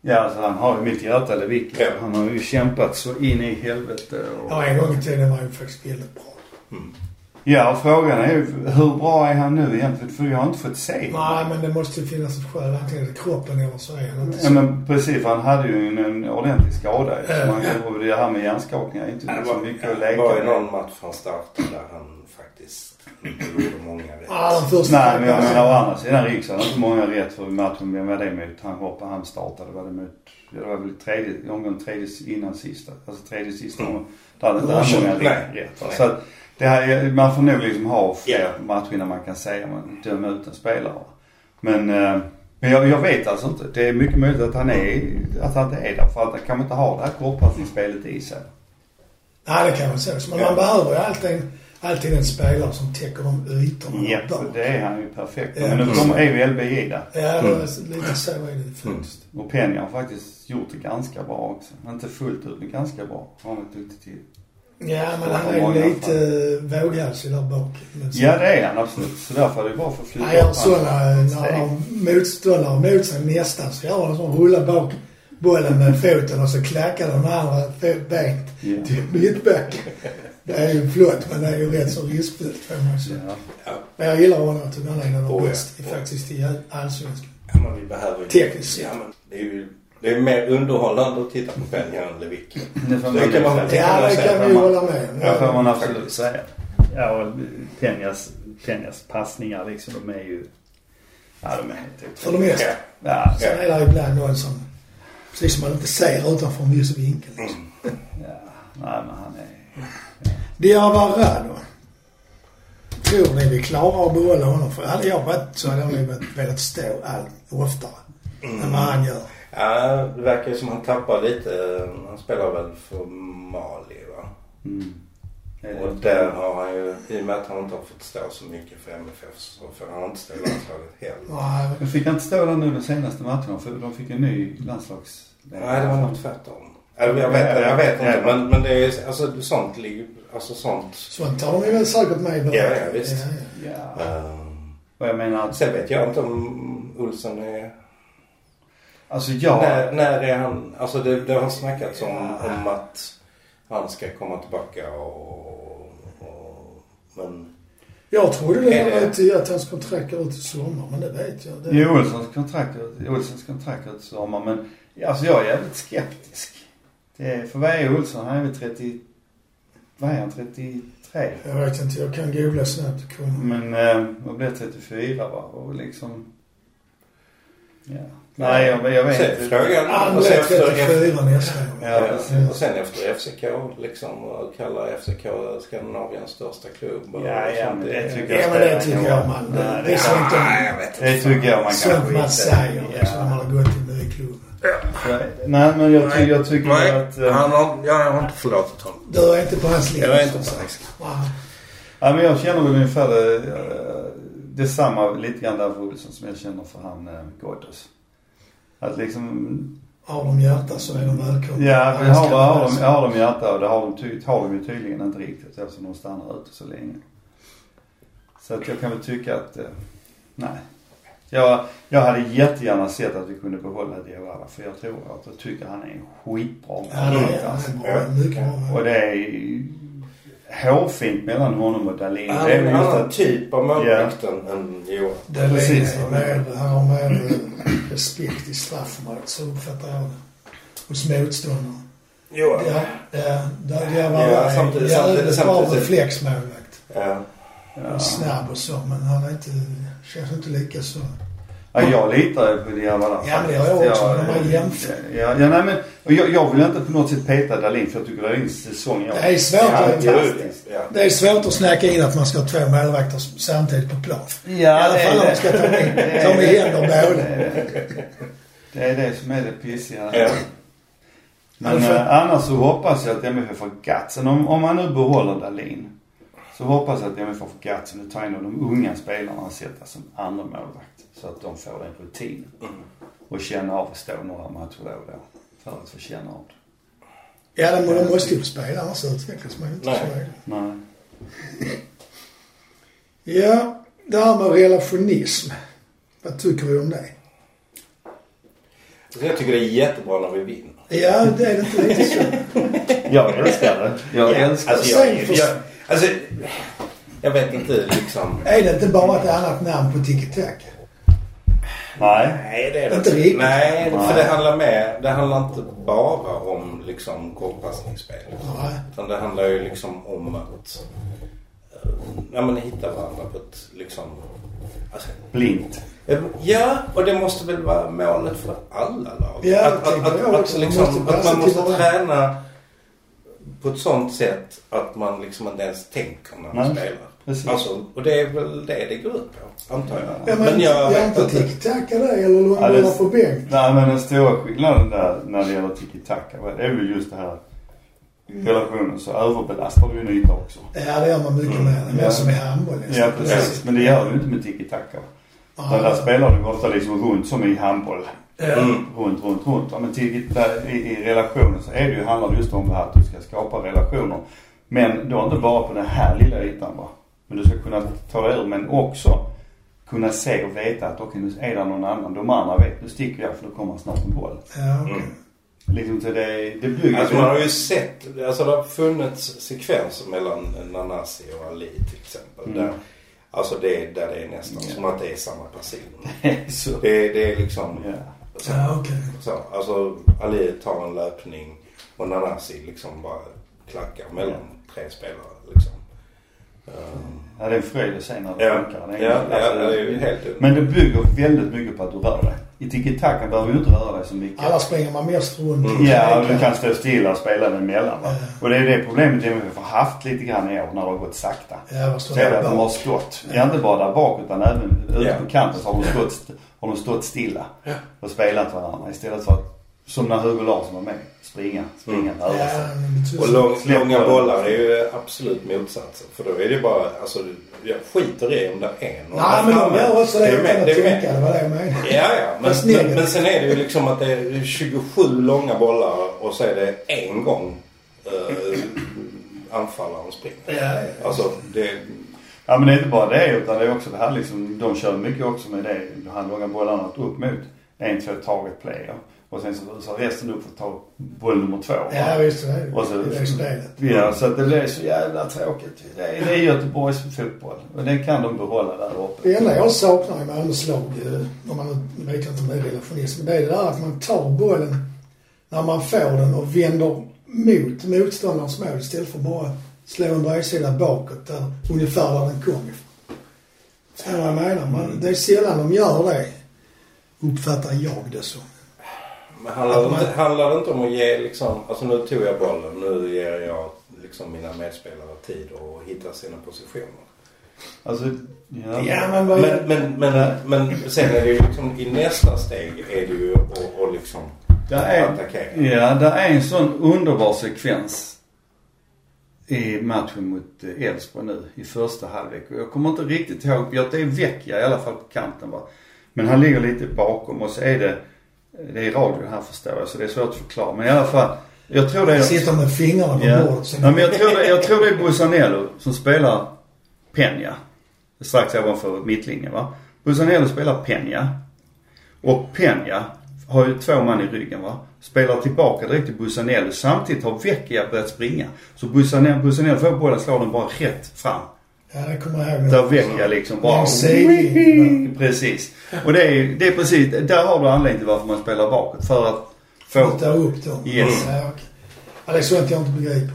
Speaker 3: Ja, alltså han har ju mitt hjärta Lewicki.
Speaker 2: Ja.
Speaker 3: Han har ju kämpat så in i helvete. Och...
Speaker 1: Ja, en gång i tiden var han ju faktiskt väldigt bra.
Speaker 3: Ja, och frågan är ju hur bra är han nu egentligen? För jag har inte fått se.
Speaker 1: Nej, men det måste ju finnas ett skäl. Antingen är det kroppen eller så är han inte
Speaker 3: Ja,
Speaker 1: så.
Speaker 3: men precis. För han hade ju en, en ordentlig skada ju.
Speaker 1: Ja.
Speaker 3: Så man, och det här med hjärnskakningar är
Speaker 2: Det
Speaker 3: inte så
Speaker 2: var,
Speaker 3: mycket att
Speaker 2: det var ju
Speaker 3: leka med.
Speaker 2: någon match han startade där han faktiskt inte gjorde många rätt.
Speaker 1: Ja, den första
Speaker 3: Nej, men jag menar å andra sidan Riksson har inte många rätt för matchen. Vem var det mot? Han hoppade, han startade. Var det mot? Det var väl tredje, omgång tredje innan sista. Alltså tredje sista omgången. Där hade inte han många
Speaker 2: Nej.
Speaker 3: rätt. va?
Speaker 2: Nej.
Speaker 3: Så att det här, är- man får nog liksom ha fler
Speaker 2: Ja.
Speaker 3: matcher innan man kan säga man dömer ut en spelare. Men, eh, men jag, jag vet alltså inte. Det är mycket möjligt att han är, att han inte är där. För att han kanske inte har det här kortpassningsspelet i sig.
Speaker 1: Nej, det kan man säga. Så Man, man behöver ju alltid, alltid en spelare som täcker de ytorna man
Speaker 3: Ja,
Speaker 1: har.
Speaker 3: det är han ju perfekt.
Speaker 1: Ja.
Speaker 3: Men nu kommer E EVLBJ där.
Speaker 1: Ja, det är lite så är det faktiskt.
Speaker 3: Och Penny har faktiskt gjort det ganska bra också. Inte fullt ut, men ganska bra. Har han varit duktig till.
Speaker 1: Ja, men
Speaker 3: Ja,
Speaker 1: han är
Speaker 3: många
Speaker 1: ju lite eh, våghalsig där bak. Men så-
Speaker 3: Ja, det är han absolut. Så därför är det bra för att flyga
Speaker 1: Nej, jag har
Speaker 3: upp
Speaker 1: sådana,
Speaker 3: hans
Speaker 1: när han
Speaker 3: steg.
Speaker 1: har motståndare mot sig nästan, så jag har en sån rulla bak bollen med foten och så klackar den andra fot- benet
Speaker 3: Ja.
Speaker 1: till mittback. Det är ju flott, men det är ju rätt så riskfyllt får man säga.
Speaker 3: Ja.
Speaker 1: Men jag gillar honom till den ena och
Speaker 2: Åh, Oh, ja.
Speaker 1: bäst i- faktiskt i allsvenskan.
Speaker 2: Ja, men vi behöver ju...
Speaker 1: Tekniskt.
Speaker 2: Ja, men det är ju... Det är mer underhållande att titta på Benny än Lewicki.
Speaker 3: Det får man,
Speaker 2: Det kan man väl tänka.
Speaker 1: Ja, det
Speaker 2: säga
Speaker 1: kan vi
Speaker 2: framåt.
Speaker 1: hålla med om.
Speaker 3: det får man
Speaker 2: Ja,
Speaker 3: absolut
Speaker 2: faktiskt.
Speaker 3: säga. Ja, och Penjas, Penjas passningar liksom, de är ju... Ja, de är helt
Speaker 1: För
Speaker 3: otroliga.
Speaker 1: det mesta.
Speaker 2: Ja.
Speaker 3: Ja,
Speaker 1: Sen är det ibland någon som, precis som man inte ser utanför en viss vinkel. Liksom.
Speaker 3: ja. Nej, men han är...
Speaker 1: Diawara då? Tror ni vi klarar att behålla honom? För hade jag varit så hade jag nog velat- velat stå allt oftare än
Speaker 2: Mm.
Speaker 1: vad han gör.
Speaker 2: Ja, det verkar ju som han tappar lite. Han spelar väl för Mali va?
Speaker 3: Mm. Det är
Speaker 2: Och
Speaker 3: det.
Speaker 2: där har han ju, i och med att han inte har fått stå så mycket för MFF så får han inte stå i landslaget heller.
Speaker 1: Nej,
Speaker 3: Men fick han inte stå där nu de senaste matcherna? För de fick en ny landslags...
Speaker 2: Nej, det var nog tvärtom. Eller, Jag vet, jag vet inte, men, men det är alltså sånt ligger, alltså sånt.
Speaker 1: sånt tar de ju väl säkert med i början.
Speaker 2: Ja, ja, visst.
Speaker 1: ja.
Speaker 3: Ja.
Speaker 2: Ehm,
Speaker 3: Och jag menar att...
Speaker 2: sen vet jag inte om Olsen är,
Speaker 3: Alltså jag...
Speaker 2: när, när är han, alltså det, det har snackats om, om att han ska komma tillbaka och, och men
Speaker 1: Jag trodde det
Speaker 2: Är det-
Speaker 1: var till att hans kontrakt går ut i sommar, men det vet jag. Det...
Speaker 3: I Olssons kontrakt, i Olssons kontrakt ut i sommar. Men ja, alltså jag är jävligt skeptisk. Det är, för vad är Olsson? Han är väl 30... Vad är han? 33?
Speaker 1: Jag vet inte, jag kan googla snabbt.
Speaker 2: Mm.
Speaker 1: Kom.
Speaker 3: Men eh, vad blir 34 va? Och liksom... Ja. Nej, jag, jag vet
Speaker 2: sen
Speaker 3: inte.
Speaker 2: frågan,
Speaker 1: Han
Speaker 2: alltså
Speaker 1: blev
Speaker 2: efter,
Speaker 1: 34 nästa gång.
Speaker 3: Ja, precis.
Speaker 2: och sen efter FCK liksom och kalla FCK Skandinaviens största klubb. och
Speaker 3: Ja, ja,
Speaker 2: sånt.
Speaker 3: men det tycker jag
Speaker 1: Ja, men det tycker jag man.
Speaker 3: Nej, det-
Speaker 1: Det är sånt
Speaker 2: Nej,
Speaker 1: de-
Speaker 2: jag vet
Speaker 3: Det tycker jag man kan
Speaker 1: sånt
Speaker 3: skita i.
Speaker 1: man säger
Speaker 3: Ja.
Speaker 1: liksom, när man har gått till en ny klubb.
Speaker 3: För- Nej, men jag, ty- jag tycker
Speaker 2: Nej,
Speaker 3: att... eh,
Speaker 2: han har, jag har inte förlåtit honom.
Speaker 1: Du är inte på hans linje.
Speaker 2: Jag är inte
Speaker 1: så
Speaker 2: på
Speaker 1: att säga.
Speaker 2: hans
Speaker 1: Wow.
Speaker 3: Ja, men jag känner väl ungefär det, eh, detsamma lite grann där för Olsson som jag känner för han eh, Ghoddos. Att liksom,
Speaker 1: Har de hjärta så är de välkomna.
Speaker 3: ja, men har, har, de, har de hjärta och det har de, ty, har de ju tydligen inte riktigt eftersom de stannar ute så länge. Så att jag kan väl tycka att, eh, nej. Jag, jag hade jättegärna sett att vi kunde behålla Diawara för jag tror att jag tycker han är en skitbra
Speaker 1: Ja, det
Speaker 3: målvakt,
Speaker 1: är
Speaker 3: alltså.
Speaker 1: han är bra. Mycket bra.
Speaker 3: Och det är hårfint mellan honom och Dahlin.
Speaker 2: Han
Speaker 3: det är
Speaker 2: är en
Speaker 3: väl just
Speaker 2: annan
Speaker 3: att,
Speaker 2: typ av målvakt än- än Johan.
Speaker 1: Det är
Speaker 3: Precis.
Speaker 1: precis. Mer, han har mer eh, respekt i straffområdet, så uppfattar jag det. Hos motståndarna. Ja,
Speaker 2: Johan?
Speaker 1: ja, ja, det är
Speaker 2: Ja, samtidigt-
Speaker 1: ja,
Speaker 2: samtidigt-
Speaker 1: det är bra
Speaker 2: samtidigt-
Speaker 1: reflexmålvakt.
Speaker 2: Ja.
Speaker 3: ja.
Speaker 1: Snabb och så, men han är inte, känns inte lika så.
Speaker 3: Ja, jag litar ju på Diawara.
Speaker 1: Ja, men det gör jag också, men man jämför.
Speaker 3: Ja, ja, nej, men och jag, jag vill inte på något sätt peta Dahlin för jag tycker Dahlins säsong
Speaker 1: Det är svårt att-
Speaker 3: fantastisk.
Speaker 2: Ja.
Speaker 1: Det är svårt att snacka in att man ska ha två målvakter samtidigt på plan.
Speaker 3: Ja,
Speaker 1: I alla fall om man ska ta med, ta med händer båda.
Speaker 3: Det är det som är det pissiga.
Speaker 2: Ja.
Speaker 3: Men
Speaker 1: Alltså-
Speaker 3: eh, annars så hoppas jag att MFF får gatsen. Om, om man nu behåller Dahlin så hoppas jag att MFF får gatsen och tar in de unga spelarna och sätter som andra målvakt. Så att de får den rutinen. Och känna av att stå några matcher då och då. För att få känna av det.
Speaker 1: Ja, de, de måste ju få spela, annars utvecklas man ju inte.
Speaker 2: Nej.
Speaker 1: Så är det.
Speaker 3: Nej.
Speaker 1: Ja, det här med relationism. Vad tycker vi om det?
Speaker 2: Så Jag tycker det är jättebra när vi vinner.
Speaker 1: Ja, det är inte riktigt så.
Speaker 3: Jag älskar det. Jag älskar det.
Speaker 2: Alltså, jag,
Speaker 1: Sen-
Speaker 2: jag, alltså, jag vet inte liksom.
Speaker 1: Är det inte bara ett annat namn på tiki-taka?
Speaker 3: Nej.
Speaker 2: Nej, det är det
Speaker 1: Inte riktigt.
Speaker 2: Nej, för
Speaker 3: Nej.
Speaker 2: det handlar med. Det handlar inte bara om liksom kortpassningsspel.
Speaker 1: Nej.
Speaker 2: Utan det handlar ju liksom om att eh, ja, men hitta varandra på ett liksom... Alltså, eh,
Speaker 3: Blint.
Speaker 2: ja, och det måste väl vara målet för alla lag.
Speaker 1: Ja, jag
Speaker 2: att, att,
Speaker 1: tänker
Speaker 2: att,
Speaker 1: jag
Speaker 2: att,
Speaker 1: också. Man
Speaker 2: liksom,
Speaker 1: måste
Speaker 2: att man
Speaker 1: passa till
Speaker 2: måste
Speaker 1: varandra.
Speaker 2: träna på ett sånt sätt att man liksom inte ens tänker när man
Speaker 3: Nej,
Speaker 2: spelar.
Speaker 3: precis.
Speaker 2: Alltså, och det är väl det det går ut på, antar
Speaker 1: Ja,
Speaker 2: jag.
Speaker 1: men, jag är inte tiki-taka där, eller
Speaker 3: Ja, det-
Speaker 1: långbollar på bänk.
Speaker 3: Nej men den stora skillnaden där när det gäller tiki-taka va, det är väl just det här relationen så överbelastar du ju en yta också.
Speaker 1: Ja, det gör man mycket
Speaker 2: Mm.
Speaker 1: mer. Det är
Speaker 3: Ja.
Speaker 1: mer som i handboll
Speaker 3: Ja precis. Ah. Men det gör du inte med tiki-taka. Där, där spelar du ofta liksom runt som i handboll. Mm.
Speaker 1: Ja.
Speaker 3: Runt, runt, runt. Ja, men till, där, i, i relationen så är det ju, handlar det just om det här att du ska skapa relationer. Men då inte bara på den här lilla ytan va. Men du ska kunna ta dig ur men också kunna se och veta att okej nu är det någon annan. De andra vet, nu sticker jag för då kommer snart en boll.
Speaker 1: Ja, okej.
Speaker 2: Mm.
Speaker 3: Liksom så det, det bygger
Speaker 2: Alltså man har ju sett, alltså det har funnits sekvenser mellan Nanasi och Ali till exempel.
Speaker 3: Mm.
Speaker 2: Där, alltså det, där det är nästan
Speaker 3: Ja.
Speaker 2: som att det är samma person.
Speaker 3: så.
Speaker 2: Det, det är liksom
Speaker 3: Ja.
Speaker 2: så,
Speaker 1: Ja, okej.
Speaker 2: så. Alltså Ali tar en löpning och Nanasi liksom bara klackar mellan tre spelare liksom. Ehm,
Speaker 3: ja, det är en fröjd att se när det
Speaker 2: ja,
Speaker 3: funkar.
Speaker 2: ja,
Speaker 3: Det är-
Speaker 2: ja,
Speaker 3: alltså,
Speaker 2: det är ju helt
Speaker 3: Men det bygger väldigt mycket på att du rör dig. I tiki-taka behöver du inte röra dig så mycket.
Speaker 1: Alla springer man mest runt.
Speaker 2: Mm.
Speaker 3: Ja, och du kan stå stilla och spela den emellan. Va?
Speaker 1: Ja.
Speaker 3: Och det är ju det problemet jag har haft lite grann i år när det har gått sakta.
Speaker 1: Ja, vad står
Speaker 3: Så är det
Speaker 1: det
Speaker 3: att de har
Speaker 1: bak?
Speaker 3: stått, ja, inte bara där bak utan även ute
Speaker 2: Ja.
Speaker 3: på kanten så har de stått, har de stått stilla och spelat varandra istället för att, som när Hugo Larsson var med, springa, springa,
Speaker 1: Mm. Ja,
Speaker 3: röra sig.
Speaker 1: men det
Speaker 2: Och
Speaker 1: tycks-
Speaker 2: lång,
Speaker 3: Släpp
Speaker 2: långa
Speaker 3: bollen.
Speaker 2: bollar är ju absolut motsatsen. För då är det ju bara, alltså jag skiter i om det är en.
Speaker 1: Nej, men de gör också det
Speaker 2: är med-
Speaker 1: utan att
Speaker 2: det är med.
Speaker 1: tänka. Det var det jag menade.
Speaker 2: Ja, ja. Men,
Speaker 1: Fast
Speaker 2: men,
Speaker 1: negativt.
Speaker 2: men sen är det ju liksom att det är 27 långa bollar och så är det en gång eh, anfallaren
Speaker 1: Ja,
Speaker 2: springer.
Speaker 1: ja.
Speaker 2: Alltså, det...
Speaker 3: Ja men det är inte bara det utan det är också det här liksom, de kör mycket också med det, de här långa bollarna att upp mot en, två, target player. Och sen så rusar resten upp för att ta boll nummer två. va?
Speaker 1: Ja, visst. Det är
Speaker 3: Och så-
Speaker 1: det är spelet.
Speaker 3: Ja, så att det blir så jävla tråkigt. Det är, det är Göteborgs fotboll. Och den kan de behålla där uppe.
Speaker 1: Det enda jag saknar i Malmös lag, eh, om man nu vet jag inte om det är relationism, men det är det där att man tar bollen när man får den och vänder mot motståndarens mål istället för bara slå en bredsida bakåt där, ungefär där den kom ifrån. Förstår du vad jag menar?
Speaker 3: Mm.
Speaker 1: Man, det är sällan de gör det, uppfattar jag det som.
Speaker 2: Men handlar, det
Speaker 1: Att man-
Speaker 2: inte, handlar det inte om att ge liksom, alltså nu tog jag bollen, nu ger jag liksom mina medspelare tid att hitta sina positioner.
Speaker 3: Alltså, ja.
Speaker 1: Ja, men vad...
Speaker 2: Men, men, men, men sen är det ju liksom i nästa steg är det ju att att liksom
Speaker 3: Där är,
Speaker 2: attackera.
Speaker 3: ja, där är en sån underbar sekvens i matchen mot eh, Elfsborg nu i första halvlek. Och jag kommer inte riktigt ihåg, jag- det är Vecchia i alla fall på kanten va. Men han ligger lite bakom och så är det, eh, det är radio här förstår jag så det är svårt att förklara. Men i alla fall, jag tror det är...
Speaker 1: Jag sitter med fingrarna på
Speaker 3: Ja.
Speaker 1: bordet. så-
Speaker 3: Ja, men jag, tror det, jag tror det är Busanello som spelar Peña. Strax ovanför mittlinjen va. Busanello spelar Peña. Och Peña har ju två man i ryggen va. Spelar tillbaka direkt till Busanello. Samtidigt har Vecchia börjat springa. Så Busanello, Busanello får bollen, slår den bara rätt fram.
Speaker 1: Ja, det kommer jag ihåg.
Speaker 3: Där Vecchia liksom bara...
Speaker 1: En sidling.
Speaker 3: Precis. Och det är, det är precis, där har du anledningen till varför man spelar bakåt. För att få...
Speaker 1: Fota upp dem.
Speaker 3: Yes.
Speaker 1: Ja, okej. ja, det är sånt jag inte begriper.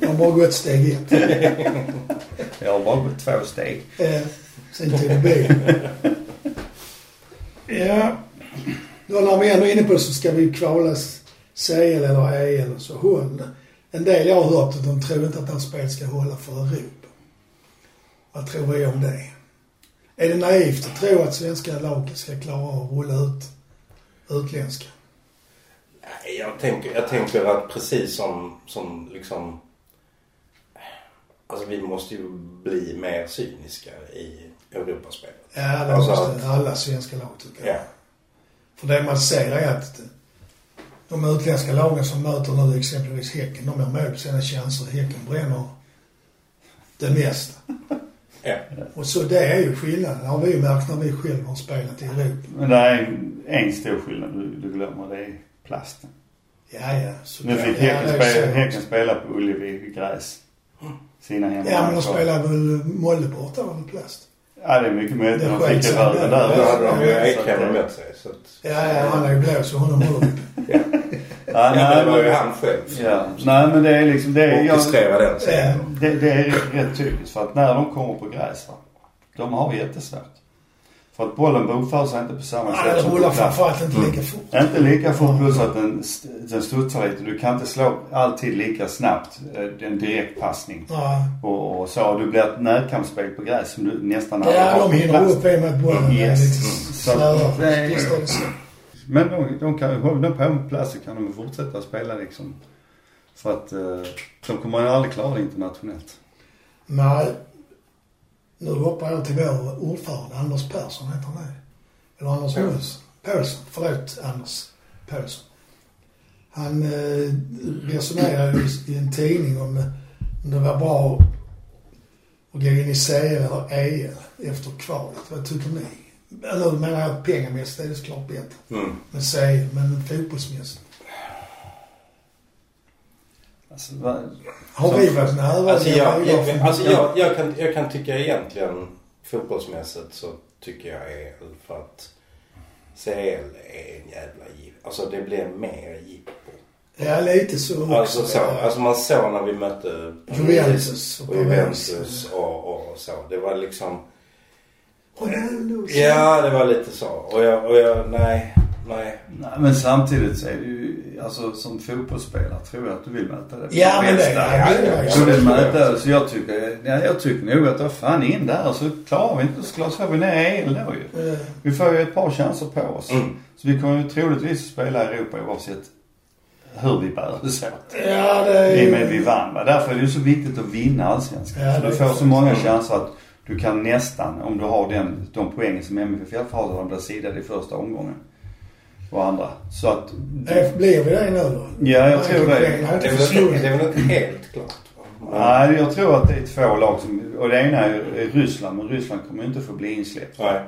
Speaker 1: De har bara gått steg ett.
Speaker 3: Jag har bara gått två steg.
Speaker 1: Eh, sen till bilen. Ja. Då när vi ändå är inne på det så ska vi ju kvala CL eller EL och så håll. En del jag har hört att de tror inte att det här spelet ska hålla för Europa. Vad tror vi om det? Är det naivt att tro att svenska lag ska klara av att rulla ut utländska?
Speaker 2: Nej, Jag tänker, jag tänker att precis som, som liksom... Alltså vi måste ju bli mer cyniska i Europaspelet.
Speaker 1: Ja, det
Speaker 2: Alltså-
Speaker 1: måste alla svenska lag tycker jag.
Speaker 2: Ja.
Speaker 1: För det man ser är att de utländska lagen som möter nu exempelvis Häcken, de gör mål på sina chanser. Häcken bränner det mesta.
Speaker 2: Ja.
Speaker 1: Och så det är ju skillnaden, har vi ju märkt när vi själva har spelat i Europa.
Speaker 3: Men det är en, en stor skillnad du, du glömmer. Det är plasten.
Speaker 1: Ja, ja. Så
Speaker 3: Nu fick
Speaker 1: ja,
Speaker 3: Häcken
Speaker 1: det är
Speaker 3: spela,
Speaker 1: så.
Speaker 3: Häcken spela på Ullevi gräs. Sina hemma.
Speaker 1: Ja, men de spelar väl Molle borta var väl plast.
Speaker 3: Ja, det är mycket möjligt.
Speaker 1: Det
Speaker 3: De
Speaker 1: sköts
Speaker 3: fick det
Speaker 1: han där.
Speaker 3: röda
Speaker 2: Då
Speaker 3: där.
Speaker 2: hade de ju
Speaker 3: Så att-
Speaker 2: Ekhem med sig. Så att,
Speaker 1: Ja, ja, han är ju blå så honom håller vi.
Speaker 3: Ja,
Speaker 2: ja, men det var ju
Speaker 3: nej,
Speaker 2: han själv
Speaker 3: men,
Speaker 2: som
Speaker 3: ja, nej, men det är liksom... Det är, jag,
Speaker 2: orkestrerade den
Speaker 1: Ja.
Speaker 2: sen.
Speaker 3: det, det är rätt- rätt typiskt. För att när de kommer på gräs, va, de har jättesvårt. För att bollen bokför sig inte på samma
Speaker 1: Ja,
Speaker 3: sätt
Speaker 1: det
Speaker 3: som på
Speaker 1: rullar
Speaker 3: plasten.
Speaker 1: framförallt inte lika fort.
Speaker 3: Inte lika fort plus att den, st- den studsar lite. Du kan inte slå alltid lika snabbt eh, en direktpassning.
Speaker 1: Ja,
Speaker 3: och, och så. Du blir ett närkampsspel på gräs som du nästan aldrig
Speaker 1: ja de
Speaker 3: på
Speaker 1: hinner
Speaker 3: plats.
Speaker 1: upp i och med att bollen är
Speaker 3: Yes.
Speaker 1: lite
Speaker 3: Mm. Så-
Speaker 1: snöare. Visst är det så.
Speaker 3: Men de, de kan ju hålla på med plats så kan de fortsätta spela liksom. För att eh, de kommer ju aldrig klara det internationellt.
Speaker 1: Nej. Nu hoppar jag till vår ordförande, Anders Persson heter han det? Eller Anders
Speaker 2: Persson.
Speaker 1: Nilsson? Persson. Förlåt, Anders Persson. Han eh, resonerade i- i en tidning om om det var bra att gå in i CL eller EL efter kvalet. Vad tycker ni? Eller menar jag pengamässigt är det såklart bättre
Speaker 2: Mm.
Speaker 1: med CL, men fotbollsmässigt.
Speaker 3: Alltså, va,
Speaker 1: Har
Speaker 3: Så-
Speaker 1: vi varit nära?
Speaker 2: Alltså, jag,
Speaker 1: Ja,
Speaker 2: jag, alltså jag, jag, kan, jag kan tycka egentligen fotbollsmässigt så tycker jag EL för att CL är en jävla jippo. Alltså det blir mer jippo.
Speaker 1: ja, lite så
Speaker 2: Alltså,
Speaker 1: också.
Speaker 2: så, alltså man såg när vi mötte
Speaker 1: Juventus och
Speaker 2: och Juventus och, och så. Det var liksom...
Speaker 1: Ronaldo.
Speaker 2: Ja, det var lite så. Och jag, och jag nej, nej.
Speaker 3: nej, men samtidigt så är det ju, alltså som fotbollsspelare tror jag att du vill möta det.
Speaker 1: Ja, men det...
Speaker 3: Bästa.
Speaker 1: Ja, det var
Speaker 3: Så
Speaker 1: ju-
Speaker 3: det möter, så jag tycker, ja, jag tycker nog att, vad fan in där så klarar vi inte, så slår vi ner el då ju.
Speaker 1: Eh,
Speaker 3: Vi får ju ett par chanser på oss.
Speaker 2: Mm.
Speaker 3: Så vi kommer ju troligtvis spela i Europa oavsett hur vi bär oss
Speaker 1: Mm.
Speaker 3: åt.
Speaker 1: Ja, det är...
Speaker 3: I och med att vi vann va? Därför är det ju så viktigt att vinna Allsvenskan.
Speaker 1: Ja,
Speaker 3: så
Speaker 1: det
Speaker 3: du
Speaker 1: är
Speaker 3: får
Speaker 1: sant.
Speaker 3: så många chanser att du kan nästan, om du har den, de poängen som MFF har, att de blir sidade i första omgången. Och andra. Så att...
Speaker 1: Nej, Blir vi det nu då?
Speaker 3: Ja, jag tror det.
Speaker 1: Jag har inte
Speaker 2: Det är väl inte,
Speaker 1: försvunnit.
Speaker 2: det är väl inte helt klart. va?
Speaker 3: Nej, jag tror att det är två lag som, och det ena är Ryssland, men Ryssland kommer ju inte få bli insläppt.
Speaker 2: Nej.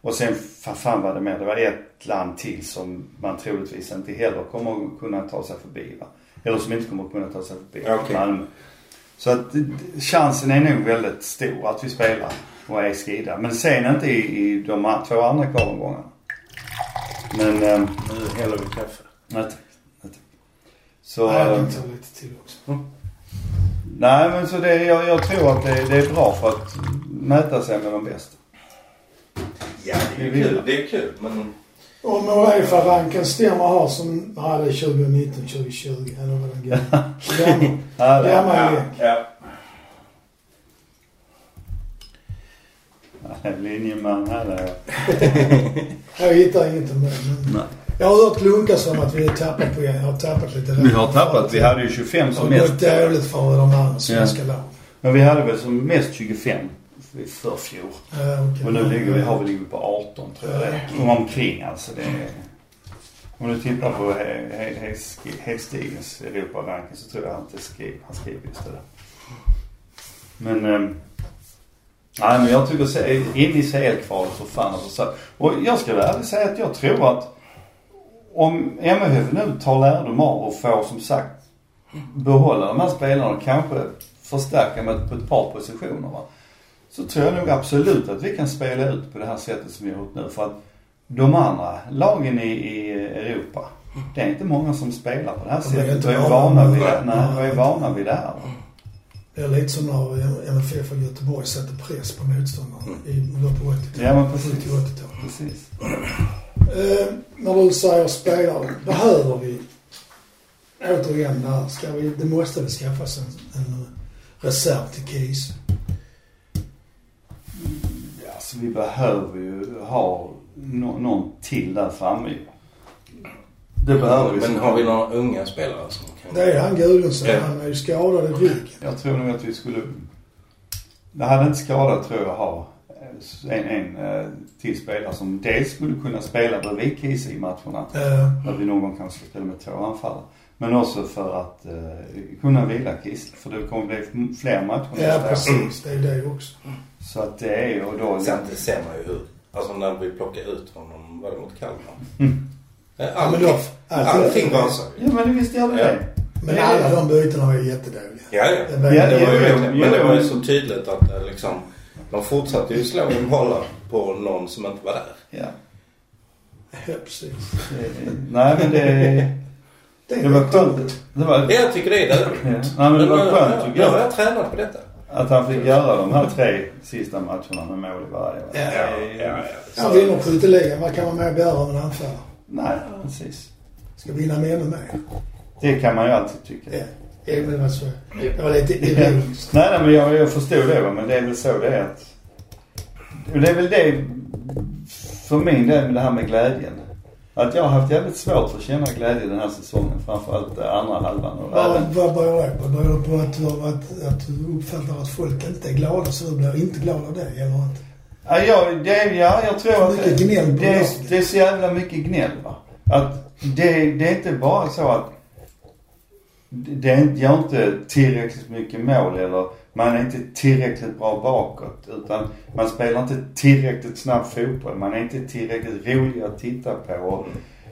Speaker 3: Och sen, fa- fan var det mer, det var ett land till som man troligtvis inte heller kommer att kunna ta sig förbi va. Eller som inte kommer att kunna ta sig förbi.
Speaker 2: Okej.
Speaker 3: Malmö. Så att d- d- chansen är nog väldigt stor att vi spelar E och är skida. Men sen inte i, i de a- två andra kvalomgångarna. Men, ehm,
Speaker 2: Nu häller vi kaffe.
Speaker 3: nej tack. nej, tack. Så,
Speaker 1: Nej, jag
Speaker 3: ehm,
Speaker 1: kan ta lite till också.
Speaker 3: nej men så det, jag, jag tror att det, det är bra för att mäta sig med de bästa.
Speaker 2: Ja, det är ju
Speaker 3: Vi
Speaker 2: kul.
Speaker 3: vill.
Speaker 2: Det är kul, men...
Speaker 1: Om Uefa-ranken stämmer har som... Nej, det är 2019, 2020. Eller vad den gamla... gamla-
Speaker 3: Ja, det-
Speaker 1: Gamla lek.
Speaker 2: ja.
Speaker 3: Linjeman här är jag.
Speaker 1: Jag hittar inget om det. Men
Speaker 3: Nej.
Speaker 1: jag har hört lunkas om att vi har tappat på... Jag har tappat lite.
Speaker 3: Vi har tappat. Vi hade ju 25
Speaker 1: Det
Speaker 3: som
Speaker 1: har
Speaker 3: mest.
Speaker 1: gått dåligt för de andra svenska lagen.
Speaker 3: Men vi hade väl som mest 25 i förfjol.
Speaker 1: Eh, okej.
Speaker 3: Och nu ligger vi, har vi ligger på 18 tror jag det är. Och omkring alltså. Det är, om du tittar på He- He- He- Sk- Hedstigens Europa-ranking så tror jag inte skrev, han skrev just det där. Men... ehm, Nej men jag tycker se- in i CL-kvalet för fan alltså. så- Och jag ska väl ärligt säga att jag tror att om MHF nu tar lärdom av och får som sagt behålla de här spelarna och kanske förstärka med på ett par positioner va så tror jag nog absolut att vi kan spela ut på det här sättet som vi har gjort nu. För att de andra lagen i, i Europa, det är inte många som spelar på det här
Speaker 1: De är
Speaker 3: sättet
Speaker 1: inte
Speaker 3: och är
Speaker 1: vana
Speaker 3: vana
Speaker 1: vid
Speaker 3: vid det.
Speaker 1: det.
Speaker 3: Nej, och är vana vid det här. va.
Speaker 1: Det är lite som när MFF och Göteborg sätter press på motståndarna i på 80-talet.
Speaker 3: Ja men precis.
Speaker 1: 70-80-talet.
Speaker 3: precis.
Speaker 1: Eh, när du säger spelare, behöver vi återigen det här? Ska vi, det måste väl skaffas en, en reserv till KIS?
Speaker 3: Ja, så vi behöver ju ha nå- någon till där framme ju. Det behöver vi.
Speaker 2: Men har vi några unga spelare som kan...
Speaker 1: Det är han Gudrunsen,
Speaker 2: Ja.
Speaker 1: han är ju skadad i ryggen.
Speaker 3: Jag tror nog att vi skulle... Det hade inte skadat tror jag att ha en, en eh, till spelare som dels skulle kunna spela bredvid Kiese i matcherna.
Speaker 1: Eh,
Speaker 3: Där vi någon gång kanske till och med två anfallare. Men också för att eh, kunna vila Kiese. För det kommer bli fler matcher
Speaker 1: ja,
Speaker 3: nästa år.
Speaker 1: precis. Det är det också.
Speaker 3: Så att det är ju och då...
Speaker 2: Sen det ser man ju hur... Alltså när vi plockade ut honom, var det mot Kalmar?
Speaker 3: Mm.
Speaker 2: Eh,
Speaker 1: Ja, men
Speaker 2: Allting,
Speaker 1: då-
Speaker 2: allting rasar ju.
Speaker 3: Ja men visst gör det
Speaker 2: Ja.
Speaker 3: det.
Speaker 1: Men alla de bytena var ju jättedåliga.
Speaker 2: Ja, ja.
Speaker 1: Det var, ja,
Speaker 3: Ja,
Speaker 2: Det var ju
Speaker 3: Jo,
Speaker 2: verkligen-
Speaker 3: jo,
Speaker 2: men det var ju
Speaker 3: jo.
Speaker 2: så tydligt att eh, liksom, de fortsatte ju slå in bollar på någon som inte var där.
Speaker 3: Ja.
Speaker 1: precis.
Speaker 3: Eh, Nej men det...
Speaker 1: Det,
Speaker 3: Det var skönt. Det var...
Speaker 2: Ja, jag tycker det är det.
Speaker 3: Ja. Nej men det var skönt tycker
Speaker 2: Nu har
Speaker 3: jag.
Speaker 2: jag tränat på detta.
Speaker 3: Att han fick göra de här tre sista matcherna med mål i varje.
Speaker 1: Ja,
Speaker 2: Så-
Speaker 1: Han vinner skytteligan. Vad kan man mer begära av en anfallare?
Speaker 3: Nej, precis.
Speaker 1: Ska vinna med ännu mer?
Speaker 3: Det kan man ju alltid tycka.
Speaker 1: Ja. Ja, men alltså- det var så. Det var lite ironiskt.
Speaker 3: Nej, nej, men jag, jag förstod det va, men det är väl så det är att... Och Det är väl det för min del med det här med glädjen. Att jag har haft jävligt svårt att känna glädje den här säsongen. Framförallt andra halvan. Och
Speaker 1: Vad
Speaker 3: även,
Speaker 1: vad beror det på? Beror det på att du, har, att, att du uppfattar att folk inte är glada så du blir inte glad av det? Eller att,
Speaker 3: ja, jag, det, är- ja, jag tror att
Speaker 1: Mycket gnäll på
Speaker 3: det, är,
Speaker 1: laget.
Speaker 3: det är så jävla mycket gnäll va. Att det, det är inte bara så att det är, inte- jag har inte tillräckligt mycket mål eller man är inte tillräckligt bra bakåt. Utan man spelar inte tillräckligt snabb fotboll. Man är inte tillräckligt rolig att titta på. Och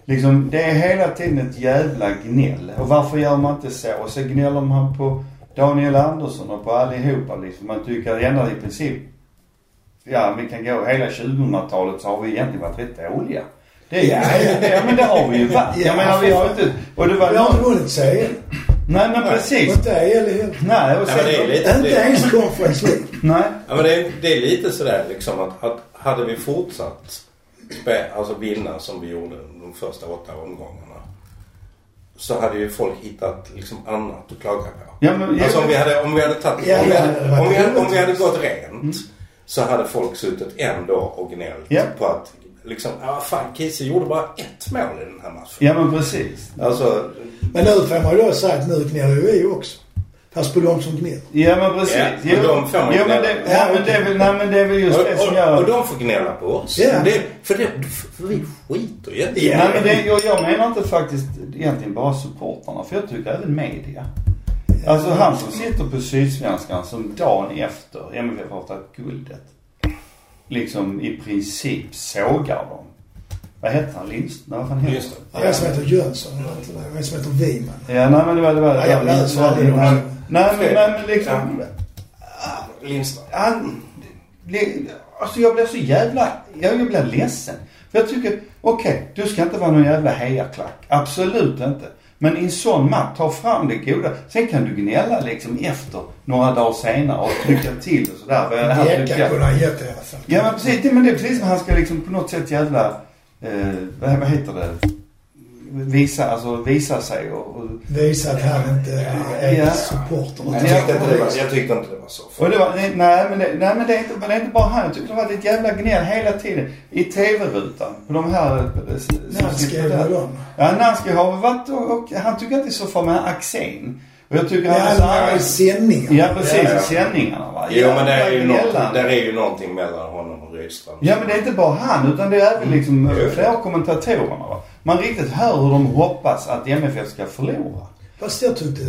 Speaker 3: liksom, det är hela tiden ett jävla gnäll. Och varför gör man inte så? Och så gnäller man på Daniel Andersson och på allihopa liksom. Man tycker ändå i princip, ja vi kan gå hela 2000-talet så har vi egentligen varit rätt dåliga. Det är,
Speaker 1: Ja.
Speaker 3: ja men det har vi ju varit. Jag menar vi har ju inte... Och det var
Speaker 1: vi har inte vunnit serien.
Speaker 3: Nej men precis.
Speaker 1: Mot dig eller helt.
Speaker 3: Nej, och
Speaker 2: Nej, men det är
Speaker 3: sen...
Speaker 2: lite...
Speaker 1: Inte
Speaker 2: det-
Speaker 1: ens Conference League.
Speaker 3: Nej.
Speaker 2: Ja, men det, är, det är lite sådär liksom att, att hade vi fortsatt spä, alltså vinna som vi gjorde de första åtta omgångarna så hade ju folk hittat liksom annat att klaga på.
Speaker 3: Ja, men, ja,
Speaker 2: Alltså om vi hade, om vi hade tagit,
Speaker 1: Ja,
Speaker 2: om, vi
Speaker 1: ja,
Speaker 2: hade,
Speaker 1: det var
Speaker 2: om, vi hade,
Speaker 1: roligt.
Speaker 2: om vi hade gått rent så hade folk suttit en dag och gnällt
Speaker 3: Mm. Ja.
Speaker 2: på att liksom, ja ah, fan Kiese gjorde bara ett mål i den här matchen.
Speaker 3: ja men precis.
Speaker 2: Alltså,
Speaker 1: Men nu får man ju då säga att nu gnäller ju vi också. Fast på de som gnäller.
Speaker 3: Ja men precis.
Speaker 2: Ja,
Speaker 3: Jo,
Speaker 2: och de får man
Speaker 3: jo, men
Speaker 2: gnälla.
Speaker 3: det, nej, men det är väl, nej men det är väl just det
Speaker 2: och,
Speaker 3: som
Speaker 2: och,
Speaker 3: gör...
Speaker 2: och de får gnälla på oss.
Speaker 1: Ja.
Speaker 2: Det, för, det, för vi skiter ju inte i
Speaker 3: Nej men det, jag, jag menar inte faktiskt egentligen bara supportrarna för jag tycker även media. Alltså han som sitter på Sydsvenskan som dagen efter MFF har tagit guldet. Liksom i princip sågar dem. Vad heter han? Lindström? Vad fan heter
Speaker 2: Lindström.
Speaker 1: Det är en som heter Jönsson och en som heter Wiman.
Speaker 3: Ja nej men det var det var...
Speaker 1: Ja, jag läser aldrig
Speaker 3: nej,
Speaker 1: de
Speaker 3: nej,
Speaker 1: här.
Speaker 3: nej, men- nej men liksom...
Speaker 2: Lindström.
Speaker 3: Han, le- alltså jag blir så jävla, jag jag blir ledsen. För jag tycker, okej, du ska inte vara någon jävla hejaklack. Absolut inte. Men i en sån match, ta fram det goda. Sen kan du gnälla liksom efter, några dagar senare och trycka till och sådär. Vad jag hade
Speaker 1: Jäklar
Speaker 3: lyckats-
Speaker 1: kunde han gett i alla fall.
Speaker 3: Ja men precis, det, men det är precis som han ska liksom på något sätt jävla, eh, vad, vad heter det? Visa, alltså visa sig och, och
Speaker 1: Visa att han inte är
Speaker 3: Ja.
Speaker 1: supporter.
Speaker 2: Jag tyckte, inte det var, jag tyckte inte det var så.
Speaker 3: Och det var, nej, nej, men det, nej men det är inte, men det är inte bara han. Jag tycker det har varit ett jävla gnäll hela tiden. I TV-rutan. På de här... eh, s-
Speaker 1: Nanske
Speaker 3: sitter
Speaker 1: är
Speaker 3: där.
Speaker 1: väl de.
Speaker 3: Ja, Nanske har väl varit och, och han tycker att det är så farligt med accent. Och jag tycker
Speaker 1: Ja,
Speaker 3: han är så
Speaker 1: alla här
Speaker 3: arg.
Speaker 1: sändningar.
Speaker 3: alltså, Ja precis,
Speaker 2: Ja, ja.
Speaker 3: i sändningarna va.
Speaker 2: Jo men det är ju
Speaker 3: Jävla
Speaker 2: något,
Speaker 3: gnällande.
Speaker 2: där är ju någonting mellan honom och Rydström.
Speaker 3: Ja men det är inte bara han utan det är även liksom
Speaker 2: Mm. Jo.
Speaker 3: flera av kommentatorerna va. Man riktigt hör hur de hoppas att MFF ska förlora.
Speaker 1: Fast jag tyckte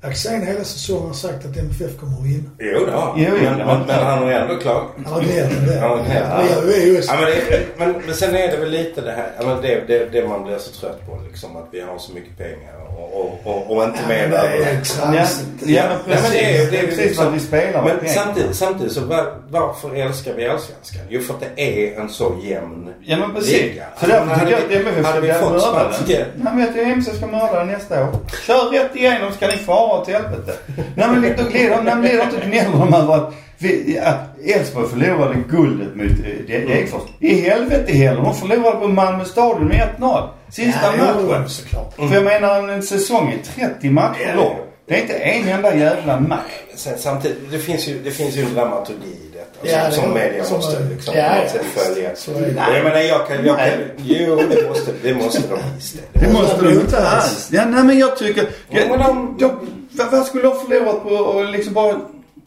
Speaker 1: Axén hela säsongen har sagt att MFF kommer att vinna.
Speaker 2: Jo det har han.
Speaker 3: Jo, jo,
Speaker 2: men,
Speaker 3: det har
Speaker 2: men, men han har ju ändå klagat.
Speaker 1: Han har gnällt om det.
Speaker 2: Han har gnällt.
Speaker 1: Ja, jag är ju-
Speaker 2: Ja, men, det, men, men sen är det väl lite det här, ja, men det, det, det man blir så trött på liksom att vi har så mycket pengar och, och, och, och inte
Speaker 1: Ja,
Speaker 2: mer
Speaker 1: men det är
Speaker 2: över.
Speaker 3: Ja,
Speaker 1: tramsigt.
Speaker 3: ja men
Speaker 2: Nej, men
Speaker 3: precis.
Speaker 2: Alltså, det är- det är
Speaker 3: precis
Speaker 2: liksom-
Speaker 3: vad vi spelar med
Speaker 2: Men
Speaker 3: pengar.
Speaker 2: samtidigt, samtidigt så var, varför älskar vi Allsvenskan? Jo för att det är en så jämn
Speaker 3: Ja men precis.
Speaker 2: liga. Alltså,
Speaker 3: Så därför tycker
Speaker 2: Hade
Speaker 3: jag att
Speaker 2: vi-
Speaker 3: MFF ska
Speaker 2: hade vi
Speaker 3: börja
Speaker 2: fått
Speaker 3: mörda
Speaker 2: spanska-
Speaker 3: den. Nej men jag tycker MFF ska mörda den nästa år. Kör rätt igenom så kan ni fara åt helvete. Nej men då glider de, nej, men det är inte och gnäller de över att vi- att Elfsborg förlorade guldet mot eh, De- Degerfors. I helvete heller. De förlorade på Malmö Stadion med 1-0. Sista
Speaker 1: Ja, jo,
Speaker 3: matchen.
Speaker 1: såklart.
Speaker 3: För jag menar en säsong är 30
Speaker 2: Ja,
Speaker 3: matcher
Speaker 2: ja.
Speaker 3: lång. Det är inte en enda jävla match.
Speaker 2: Sen, samtidigt, det finns, ju, det finns ju en dramaturgi i detta
Speaker 1: Ja,
Speaker 2: som,
Speaker 1: det-
Speaker 2: som media
Speaker 1: som-
Speaker 2: måste liksom,
Speaker 1: ja,
Speaker 2: på
Speaker 1: ja,
Speaker 2: något sätt
Speaker 1: visst.
Speaker 2: följa.
Speaker 1: Så är det.
Speaker 2: Jag menar, jag kan... Jag kan jo, det måste, det måste de visst.
Speaker 3: Det måste de
Speaker 1: inte
Speaker 3: inte
Speaker 1: alls.
Speaker 3: alls. Ja, nej men jag tycker...
Speaker 2: Ja,
Speaker 3: Jag,
Speaker 2: men de-
Speaker 3: jag, vad, vad skulle de förlorat på att liksom bara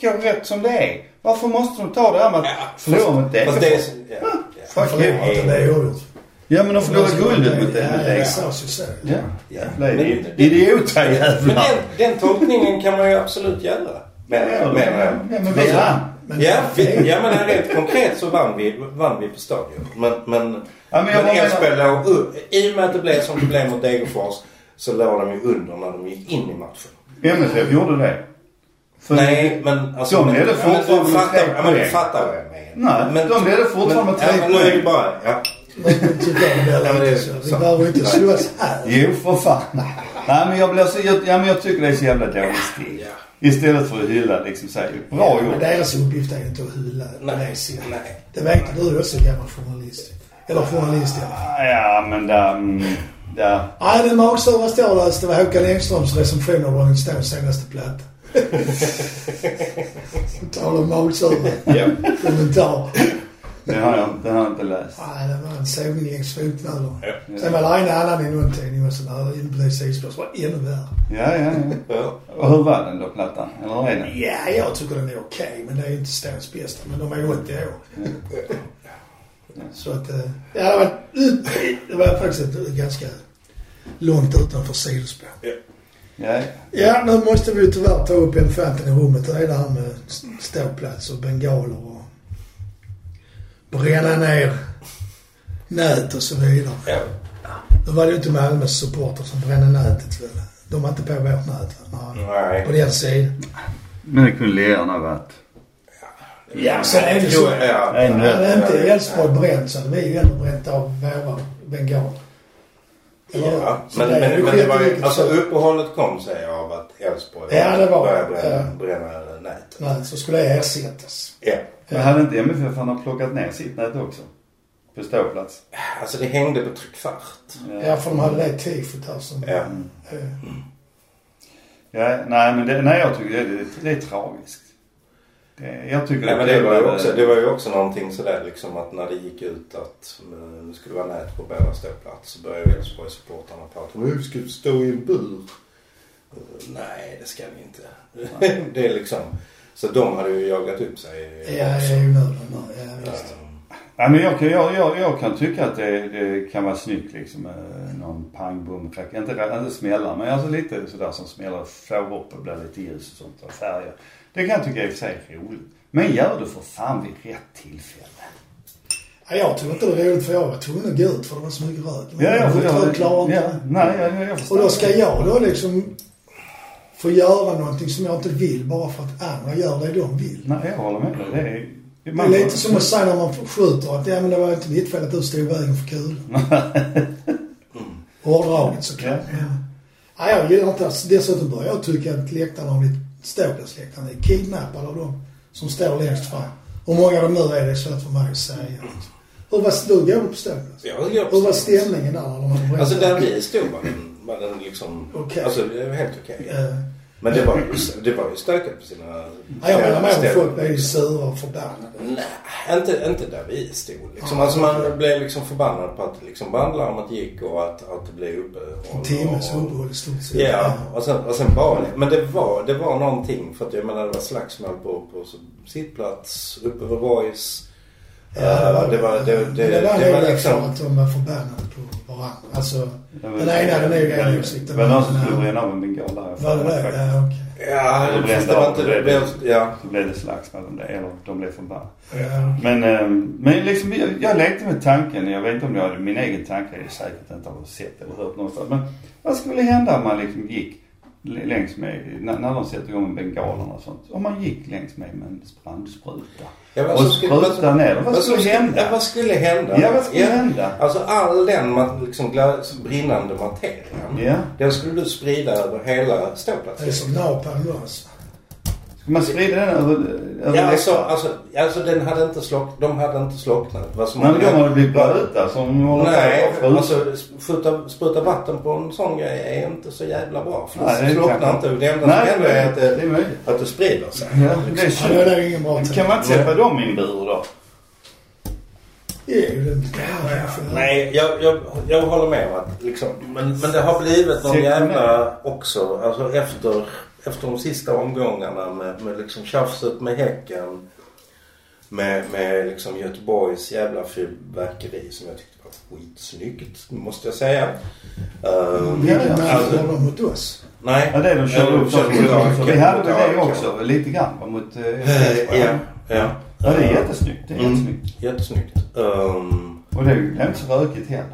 Speaker 3: gå rätt som det är? Varför måste de ta det här med att förlora mot
Speaker 2: det. Fast det är...
Speaker 3: Degerfors?
Speaker 2: så- Ja, ja.
Speaker 1: Han
Speaker 3: Fuck you.
Speaker 1: förlorar inte, det är oavgjort.
Speaker 3: Ja men de förlorade guldet mot det-
Speaker 1: Ja, ja,
Speaker 3: mot
Speaker 1: det
Speaker 3: Degerfors.
Speaker 1: sades ju så.
Speaker 3: Ja.
Speaker 2: Ja.
Speaker 3: Jävla idiot.
Speaker 2: Men-
Speaker 3: Idiota
Speaker 2: Men
Speaker 3: jävlar.
Speaker 2: den, den tolkningen kan man ju absolut göra. Men,
Speaker 3: Ja,
Speaker 2: men,
Speaker 3: men- men vi vann.
Speaker 1: Men-
Speaker 2: ja, vi, ja, men här rent konkret så vann vi, vann vi på Stadion. Men, men,
Speaker 3: Ja, men jag bara menar-
Speaker 2: Elfsborg låg upp. I och med att det blev som det blev mot Degerfors så låg de ju under när de gick in i matchen.
Speaker 3: MFF gjorde det. För-
Speaker 2: Nej, men alltså...
Speaker 3: De är det
Speaker 2: men-
Speaker 3: fortfarande
Speaker 2: men du fattar-
Speaker 3: tre
Speaker 2: ja, men Du
Speaker 3: poäng.
Speaker 2: fattar vad jag menar.
Speaker 3: Nej,
Speaker 2: men,
Speaker 3: de blev det fortfarande med tre
Speaker 2: men, ja, men Nu är
Speaker 3: poäng.
Speaker 2: det bara... Ja.
Speaker 1: Men tycker jag det
Speaker 2: Ja, men det
Speaker 1: är
Speaker 2: är
Speaker 1: så. Vi
Speaker 2: sant.
Speaker 1: behöver ju inte slåss här.
Speaker 3: Jo, för fan. Nej, men jag blir så... Jag, ja, men jag tycker det är så jävla dålig stil. Istället för att hylla liksom så här, bra
Speaker 1: Men
Speaker 3: gjort.
Speaker 1: deras uppgift är ju inte att hylla
Speaker 2: Nej,
Speaker 1: Malaysia.
Speaker 2: nej.
Speaker 1: Det vet du, du är också gammal journalist. Eller journalist i alla fall.
Speaker 3: Ja, men där... mm, Där.
Speaker 1: Nej, den magsuraste jag läste var Håkan Engströms recension av Rolling Stones senaste platta. På tal om magsura
Speaker 2: Ja.
Speaker 1: kommentarer.
Speaker 3: Den har jag, den har jag inte läst.
Speaker 1: Nej, det var en sågning längs fotvallarna.
Speaker 2: Ja.
Speaker 1: Sen var det ena annan i någon tidning och sådär. Det blev sidspår. Det var ännu värre.
Speaker 3: Ja, ja, ja.
Speaker 2: Ja.
Speaker 3: Och hur var den då, plattan? Eller är den?
Speaker 1: Ja, jag tycker den är okej. men det är ju inte Stones bästa. Men de är 80 år. Så att, eh, ja, det var, det var faktiskt ett ganska långt utanför sidospår.
Speaker 3: Ja,
Speaker 1: Ja, nu måste vi ju tyvärr ta upp elefanten i rummet. Det är det här med ståplats och bengaler och bränna ner nät och så vidare.
Speaker 2: Ja.
Speaker 1: Då var det ju inte Malmös supporter som brände nätet väl? De var inte på vårt nät va? Nej. På
Speaker 2: Nej.
Speaker 1: den sidan.
Speaker 3: Men det kunde lirarna varit.
Speaker 1: Ja, sen är det
Speaker 2: Jo,
Speaker 1: så.
Speaker 2: ja.
Speaker 3: Ännu.
Speaker 1: Hade inte Elfsborg bränt så hade vi ju ändå bränt av våra bengaler. Eller-
Speaker 2: Ja,
Speaker 1: så
Speaker 2: men,
Speaker 1: det är
Speaker 2: men,
Speaker 1: ju
Speaker 2: men det var ju,
Speaker 1: skitviktigt,
Speaker 2: alltså
Speaker 1: så-
Speaker 2: uppehållet kom sig av att Elfsborg
Speaker 1: Ja, det var det.
Speaker 2: började bränna, bränna nätet.
Speaker 1: Nej, så skulle det ersättas.
Speaker 2: Ja.
Speaker 3: Men hade inte MFF han har plockat ner sitt nät också? På ståplats?
Speaker 2: Alltså det hängde på tre kvart.
Speaker 1: Ja, för de hade det tifot här som...
Speaker 2: Ja.
Speaker 1: Eh,
Speaker 3: Ja, nej, men det, nej, jag tycker det, det, det är tragiskt. Det, jag tycker
Speaker 2: Nej, men
Speaker 3: är
Speaker 2: det, var ju
Speaker 3: kul
Speaker 2: också,
Speaker 3: att-
Speaker 2: det var ju också någonting sådär liksom att när det gick ut att eh, nu skulle det vara nät på båda ståplats så började Elfsborg-supportrarna prata om hur ska vi stå i en bur? Eh, Nej, det ska vi inte. det är liksom, så de hade ju jagat upp sig.
Speaker 1: Ja, det är ju nöden där. Ja, visst.
Speaker 3: Ja, men jag, kan- jag, jag, jag kan tycka att det, det kan vara snyggt liksom. eh, Någon pang, bom, krack. Inte, inte smälla, men alltså lite sådär som smäller. Får upp och blir lite ljus och sånt och färger. Det kan jag tycka i och för sig är roligt. Men gör det för fan vid rätt tillfälle.
Speaker 1: Ja, jag tyckte inte det var roligt för jag var tvungen att gå ut för det var så mycket rök. Men
Speaker 3: Ja, jag
Speaker 1: jag tror jag klarar inte
Speaker 3: ja,
Speaker 1: det.
Speaker 3: Nej, jag, jag förstår.
Speaker 1: Och då ska jag då liksom få göra någonting som jag inte vill bara för att andra gör det de vill.
Speaker 3: Nej, jag håller med dig. Det är...
Speaker 1: Det är lite som att säga när man skjuter att ja, men det var inte mitt fel att du stod i vägen för kulan. Hårdraget såklart.
Speaker 3: Ja.
Speaker 1: Ja. Nej, jag gillar inte det. Dessutom börjar jag tycka att läktarna har blivit, ståplatsläktarna är kidnappade av dem som står längst fram. Hur många de nu är, det är svårt för mig att säga. Hur var, du går på ståplats?
Speaker 2: Jag jagar upp
Speaker 1: Hur var
Speaker 2: sig.
Speaker 1: stämningen där när de hade bränt
Speaker 2: Alltså
Speaker 1: upp?
Speaker 2: där vi stod var den, var den liksom...
Speaker 1: Okej.
Speaker 2: Alltså det var helt okej.
Speaker 1: Eh,
Speaker 2: Men det var ju, det var ju stökigt på sina...
Speaker 1: Nej, jag menar med
Speaker 2: ställen.
Speaker 1: att folk blir ju sura och förbannade.
Speaker 2: Nej, inte, inte där vi stod liksom. Alltså man blev liksom förbannad på att liksom bandlarmet gick och att, att det blev uppe.
Speaker 1: En timmes uppehåll i stort sett.
Speaker 2: Ja, och sen, och sen var det. Men det var, det var någonting. För att jag menar det var slagsmål på, på sittplats, uppe vid Voice. Eh, det var, det, det,
Speaker 1: Men
Speaker 2: det,
Speaker 1: där
Speaker 2: var
Speaker 1: är väl
Speaker 2: liksom...
Speaker 1: för att de var förbannade på varandra. Alltså, den ena den är ju en åsikt.
Speaker 3: Det
Speaker 1: den
Speaker 3: var någon
Speaker 1: andra-
Speaker 3: som skulle bränna av en bengal där.
Speaker 1: Var det det? Ja, okej.
Speaker 2: Ja,
Speaker 3: Det blev
Speaker 2: fast det var
Speaker 3: inte
Speaker 2: inte...
Speaker 3: av,
Speaker 2: Det
Speaker 3: det
Speaker 2: blev, ja.
Speaker 3: Så blev det slagsmål om det. Eller de blev förbannade.
Speaker 1: Ja, okej.
Speaker 3: Men, eh, men liksom, jag, jag lekte med tanken. Jag vet inte om det var min egen tanke. Jag är säkert inte har sett eller hört någonstans. Men vad skulle hända om man liksom gick l- längs med, när, när de sätter igång bengalerna och sånt. Om man gick längs med med en brandspruta.
Speaker 2: Ja, vad
Speaker 3: och
Speaker 2: som skulle-
Speaker 3: spruta ner. Vad,
Speaker 2: alltså,
Speaker 3: skulle hända?
Speaker 2: Ja, vad skulle hända?
Speaker 3: ja, vad skulle hända?
Speaker 2: Alltså all den ma- liksom, glas- brinnande materian.
Speaker 3: Ja.
Speaker 2: Den skulle du sprida över hela ståplatsen.
Speaker 1: Det är som napalm då alltså.
Speaker 3: Ska man sprida den över, över
Speaker 2: Ja, alltså, alltså, alltså den hade inte slock, de hade inte slocknat. Vad som
Speaker 3: Nej, men de
Speaker 2: hade-
Speaker 3: hade blivit blöta som håller på
Speaker 2: Nej,
Speaker 3: att frusit.
Speaker 2: alltså spruta, spruta vatten på en sån grej är inte så jävla bra. För
Speaker 3: Nej,
Speaker 2: det
Speaker 3: det
Speaker 2: slocknar
Speaker 3: kan-
Speaker 2: alltså, inte. Det enda som
Speaker 3: Nej,
Speaker 2: händer är att
Speaker 3: det är
Speaker 2: det,
Speaker 3: möjligt.
Speaker 2: att det sprider sig.
Speaker 3: Ja, det är
Speaker 1: Ja, det
Speaker 3: så.
Speaker 1: är ju ingen bra tanke.
Speaker 3: Kan man inte släppa dem i en bur då?
Speaker 1: Jo, det är ju det.
Speaker 2: Nej, jag, jag, jag håller med om att liksom, men, men det har blivit någon
Speaker 3: Ser-
Speaker 2: jävla också, alltså efter, efter de sista omgångarna med, med liksom tjafset med Häcken. Med, med liksom Göteborgs jävla fyrverkeri som jag tyckte var skitsnyggt, måste jag säga. Ehm,
Speaker 1: Vilken match
Speaker 2: alltså,
Speaker 1: har de mot oss?
Speaker 2: nej.
Speaker 3: Ja, det de körde
Speaker 2: Eh,
Speaker 3: upp så.
Speaker 2: Bulgarien.
Speaker 3: Så vi hade väl det
Speaker 2: Bulgarien.
Speaker 3: också lite grann va, mot eh,
Speaker 2: Eh, Ja, ja.
Speaker 3: Ja, det är jättesnyggt. Det är
Speaker 2: Mm.
Speaker 3: jättesnyggt.
Speaker 2: Jättesnyggt. Ehm,
Speaker 3: Och det är ju inte så rökigt heller.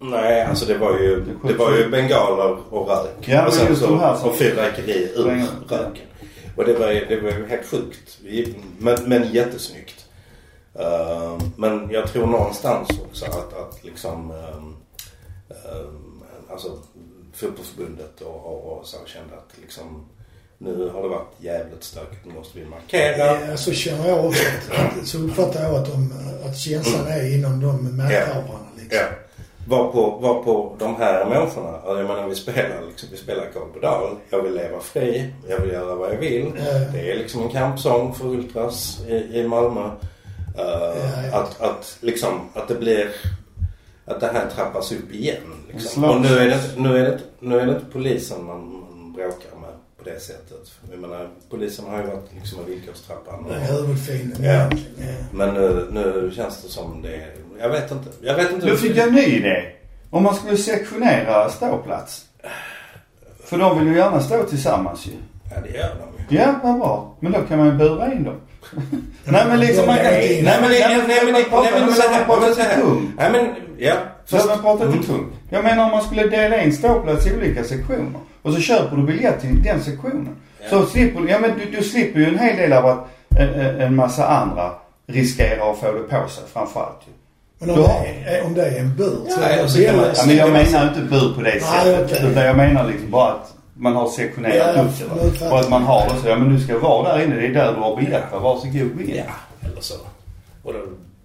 Speaker 2: Nej, alltså det var ju, det var ju bengaler och rök.
Speaker 3: Ja, men
Speaker 2: och sen
Speaker 3: just de här
Speaker 2: så,
Speaker 3: som-
Speaker 2: och fyrverkeri ur
Speaker 3: Slänger.
Speaker 2: röken. Och det var, ju- det var ju helt sjukt. Vi- Men, men jättesnyggt. Ehm, men jag tror någonstans också att, att liksom um, alltså fotbollsförbundet och, och, och så kände att liksom nu har det varit jävligt stökigt. Nu måste vi markera.
Speaker 1: Ja, så alltså, känner jag också. att- Så uppfattar jag att, de, att känslan är inom de makthavarna liksom.
Speaker 2: Ja. Var på, var på de här människorna. Alltså, Jag menar vi spelar liksom, vi spelar Karl Bodal. Jag vill leva fri. Jag vill göra vad jag vill.
Speaker 1: Ja.
Speaker 2: Det är liksom en kampsång för Ultras i, i Malmö. Eh,
Speaker 1: ja.
Speaker 2: Att, att, liksom, att det blir... Att det här trappas upp igen. Liksom.
Speaker 3: Slags-
Speaker 2: Och nu är, det, nu, är det, nu är det inte polisen man, man bråkar med på det sättet. Jag menar, polisen har ju varit liksom en villkorstrappan.
Speaker 1: Det är huvudfienden
Speaker 2: Ja.
Speaker 1: egentligen. ja.
Speaker 2: Men nu, nu känns det som det är- Jag vet inte. Jag vet inte.
Speaker 3: Då fick jag en ny idé. Om man skulle sektionera ståplats. För de vill ju gärna stå tillsammans ju.
Speaker 2: Ja, det gör de ju.
Speaker 3: Ja, vad bra. Men då kan man ju bura in dem. nej men liksom man kan...
Speaker 1: Nej,
Speaker 2: Nej men det- nej, men- nej, men det- nej, men
Speaker 3: men
Speaker 2: så här-
Speaker 3: man
Speaker 2: nej, men
Speaker 3: pratar
Speaker 2: så
Speaker 3: till
Speaker 2: här.
Speaker 3: tung.
Speaker 2: Nej men ja.
Speaker 3: Fast
Speaker 2: Fast
Speaker 3: man pratar
Speaker 1: Mm.
Speaker 3: inte tung. Jag menar om man skulle dela in ståplats i olika sektioner. Och så köper du biljett till den sektionen.
Speaker 2: Ja.
Speaker 3: Så slipper du, ja men du, du slipper ju en hel del av att en, en- en massa andra riskerar att få det på sig framförallt ju.
Speaker 1: Men om,
Speaker 3: Då-
Speaker 1: det, är- om det är en bur
Speaker 2: Ja,
Speaker 1: så är
Speaker 2: och
Speaker 1: det
Speaker 2: så kan man-
Speaker 1: billigast.
Speaker 3: Ja, men jag menar inte bur på det
Speaker 1: Nej,
Speaker 3: sättet.
Speaker 1: okej.
Speaker 3: Utan jag menar liksom bara att man har sektionerat
Speaker 1: Ja,
Speaker 3: upp det.
Speaker 1: nu fattar
Speaker 3: va. Och att man har det så. Ja men du ska vara där inne. Det är där du har biljett. va. Varsågod gå in.
Speaker 2: Ja, eller så. Och då,